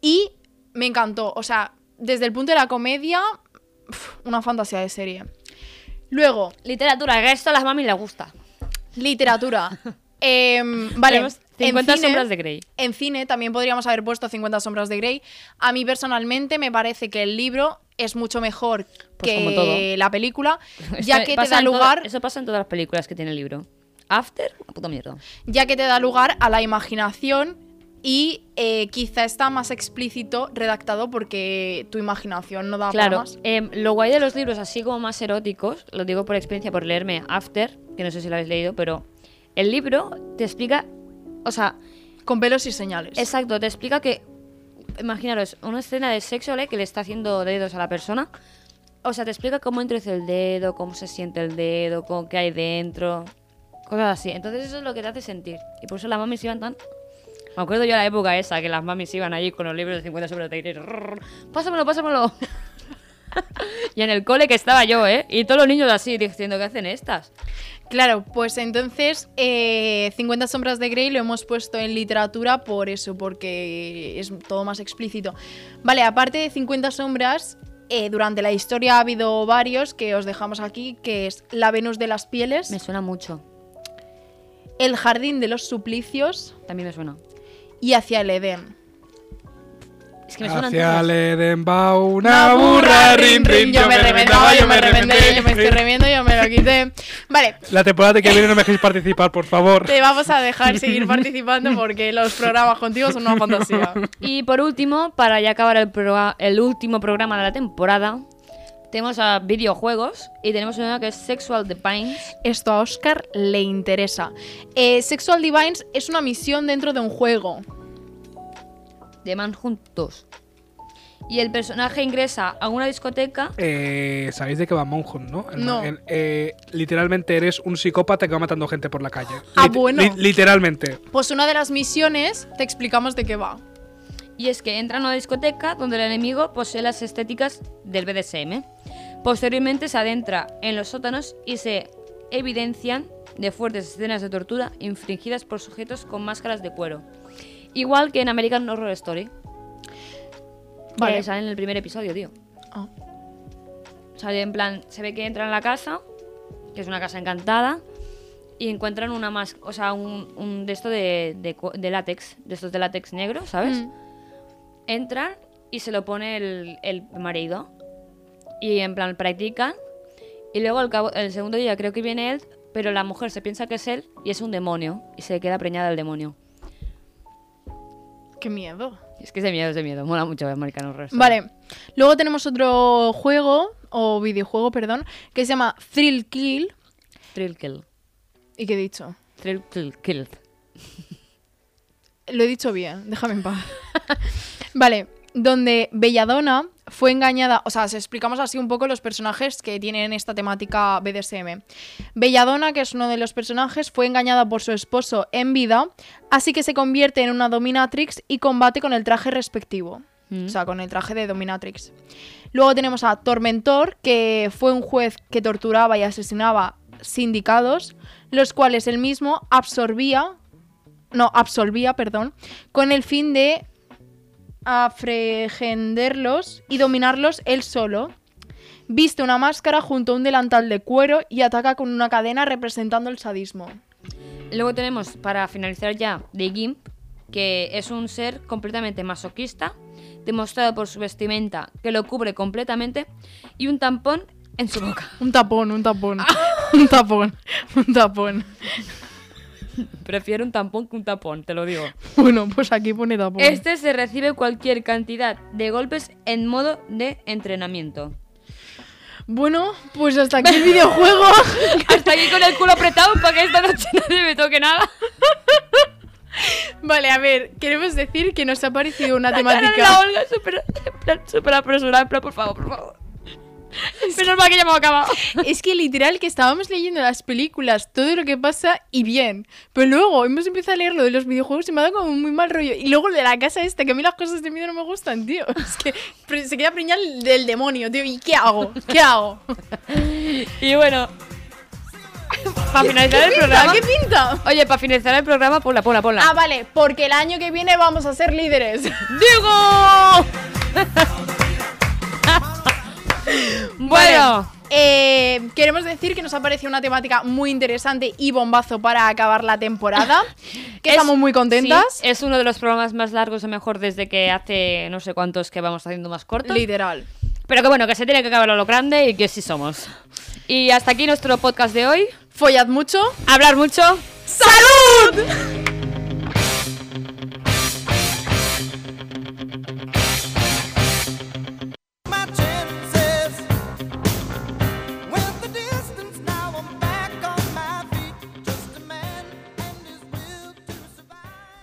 Speaker 3: Y me encantó, o sea, desde el punto de la comedia, pf, una fantasía de serie. Luego,
Speaker 2: Literatura, que esto a las mami les gusta.
Speaker 3: literatura. Em, vale,
Speaker 2: Tenemos
Speaker 3: en
Speaker 2: 50
Speaker 3: cine-
Speaker 2: sombras de Grey.
Speaker 3: en cine también podríamos haber puesto 50 sombras de Grey. A mí personalmente me parece que el libro es mucho mejor
Speaker 2: Pues como
Speaker 3: que
Speaker 2: todo.
Speaker 3: la película, ya
Speaker 2: Esto
Speaker 3: que te
Speaker 2: pasa
Speaker 3: da
Speaker 2: en todo-
Speaker 3: lugar,
Speaker 2: eso pasa en todas las películas que tiene el libro. After, una puta mierda.
Speaker 3: ya que te da lugar a la imaginación y eh, quizá está más explícito redactado porque tu imaginación no da para
Speaker 2: Claro,
Speaker 3: más.
Speaker 2: em, lo guay de los libros así como más eróticos, lo digo por experiencia, por leerme After, que no sé si lo habéis leído, pero el libro te explica, o sea,
Speaker 3: Con pelos y señales.
Speaker 2: exacto, te explica que, imaginaros, una escena de sexo ¿vale? que le está haciendo dedos a la persona, o sea, te explica cómo introduce el dedo, cómo se siente el dedo, cómo, qué hay dentro, cosas así. Entonces eso es lo que te hace sentir. Y por eso las mamis iban tan... Me acuerdo yo la época esa, que las mamis iban allí con los libros de 50 sobre de Grey. rrr, Pásamelo, pásamelo. Y en el cole que estaba yo, ¿eh? Y todos los niños así diciendo, ¿qué hacen estas?
Speaker 3: Claro, pues entonces eh, 50 sombras de Grey lo hemos puesto en literatura por eso, porque es todo más explícito. Vale, aparte de 50 sombras, eh, durante la historia ha habido varios que os dejamos aquí, que es La Venus de las Pieles,
Speaker 2: Me suena mucho.
Speaker 3: El Jardín de los Suplicios
Speaker 2: También me suena.
Speaker 3: y Hacia el Edén.
Speaker 2: Es que me suenan
Speaker 4: hacia
Speaker 2: todas.
Speaker 4: el Edén va una burra, rin, rin.
Speaker 3: yo me reventaba, yo me
Speaker 4: reventé,
Speaker 3: reventé, yo me
Speaker 4: rin,
Speaker 3: estoy
Speaker 4: rin.
Speaker 3: reviendo, yo me lo quité. Vale,
Speaker 4: La temporada que viene no me dejéis participar, por favor.
Speaker 3: te vamos a dejar seguir participando porque los programas contigo son una fantasía.
Speaker 2: Y por último, para ya acabar el, proga- el último programa de la temporada, tenemos a videojuegos y tenemos una que es Sexual Defines.
Speaker 3: Esto a Oscar le interesa. Eh, Sexual Divines es una misión dentro de un juego.
Speaker 2: de Manhunt 2. Y el personaje ingresa a una discoteca.
Speaker 4: Eh, Sabéis de qué va Monjon, ¿no? El-
Speaker 3: No.
Speaker 4: el- eh, literalmente eres un psicópata que va matando gente por la calle.
Speaker 3: Ah, bueno.
Speaker 4: literalmente.
Speaker 3: Pues una de las misiones, te explicamos de qué va.
Speaker 2: Y es que entra a una discoteca donde el enemigo posee las estéticas del BDSM. Posteriormente se adentra en los sótanos y se evidencian de fuertes escenas de tortura infringidas por sujetos con máscaras de cuero. Igual que en American Horror Story.
Speaker 3: Vale.
Speaker 2: Que sale en el primer episodio, tío.
Speaker 3: Ah.
Speaker 2: Sale en plan, se ve que entran a la casa, que es una casa encantada, y encuentran una más, o sea, un, un de esto de, de, cu- de látex, de estos de látex negro, ¿sabes?
Speaker 3: Mm.
Speaker 2: Entran y se lo pone el, el marido. Y en plan, practican. Y luego al cabo, el segundo día creo que viene él, pero la mujer se piensa que es él y es un demonio. Y se queda preñada del demonio.
Speaker 3: Qué miedo.
Speaker 2: Es que es de miedo, es de miedo. Mola mucho ver American Horror Story.
Speaker 3: Vale. Luego tenemos otro juego o videojuego, perdón, que se llama Thrill Kill.
Speaker 2: Thrill kill.
Speaker 3: ¿Y qué he dicho?
Speaker 2: Thrill kill. kill.
Speaker 3: Lo he dicho bien, déjame en paz. vale, donde Belladonna fue engañada, o sea, os explicamos así un poco los personajes que tienen esta temática BDSM. Belladonna, que es uno de los personajes, fue engañada por su esposo en vida, así que se convierte en una dominatrix y combate con el traje respectivo.
Speaker 2: Mm.
Speaker 3: O sea, con el traje de Dominatrix. Luego tenemos a Tormentor, que fue un juez que torturaba y asesinaba sindicados, los cuales él mismo absorbía, no, absolvía, perdón, con el fin de afregenderlos y dominarlos él solo. Viste una máscara junto a un delantal de cuero y ataca con una cadena representando el sadismo.
Speaker 2: Luego tenemos, para finalizar ya, The Gimp, que es un ser completamente masoquista, demostrado por su vestimenta, que lo cubre completamente, y un tampón en su boca.
Speaker 3: Un tapón, un tapón. un tapón, un tapón.
Speaker 2: Prefiero un tampón que un tapón, te lo digo.
Speaker 3: Bueno, pues aquí pone tapón.
Speaker 2: Este se recibe cualquier cantidad de golpes en modo de entrenamiento.
Speaker 3: Bueno, pues hasta aquí el videojuego.
Speaker 2: Hasta aquí con el culo apretado para que esta noche nadie me toque nada.
Speaker 3: vale, a ver, queremos decir que nos ha parecido una
Speaker 2: Cara de la
Speaker 3: temática.
Speaker 2: Olga súper en plan, súper apresurada, en plan, por favor, por favor. Menos mal que ya me ha acabado.
Speaker 3: Es que literal que estábamos leyendo las películas, todo lo que pasa y bien. Pero luego hemos empezado a leer lo de los videojuegos y me ha dado como muy mal rollo. Y luego lo de la casa esta, que a mí las cosas de miedo no me gustan, tío. Es que pre- se queda preñar del demonio, tío. ¿Y qué hago? ¿Qué hago?
Speaker 2: Y bueno, para finalizar el
Speaker 3: ¿Qué pinta?
Speaker 2: programa.
Speaker 3: ¿Qué pinta?
Speaker 2: Oye, para finalizar el programa, ponla, ponla, ponla.
Speaker 3: Ah, vale, porque el año que viene vamos a ser líderes.
Speaker 2: ¡Digo! bueno,
Speaker 3: Vale. Eh, queremos decir que nos ha parecido una temática muy interesante y bombazo para acabar la temporada. que
Speaker 2: es-
Speaker 3: estamos muy contentas.
Speaker 2: sí, es uno de los programas más largos, o mejor desde que hace no sé cuántos que vamos haciendo más cortos.
Speaker 3: Literal.
Speaker 2: Pero que bueno, que se tiene que acabar a lo grande y que sí somos. Y hasta aquí nuestro podcast de hoy.
Speaker 3: Follad mucho.
Speaker 2: Hablar mucho.
Speaker 3: ¡Salud!
Speaker 6: my chances. With the distance, now I'm back on my feet. Just a man and his will to survive.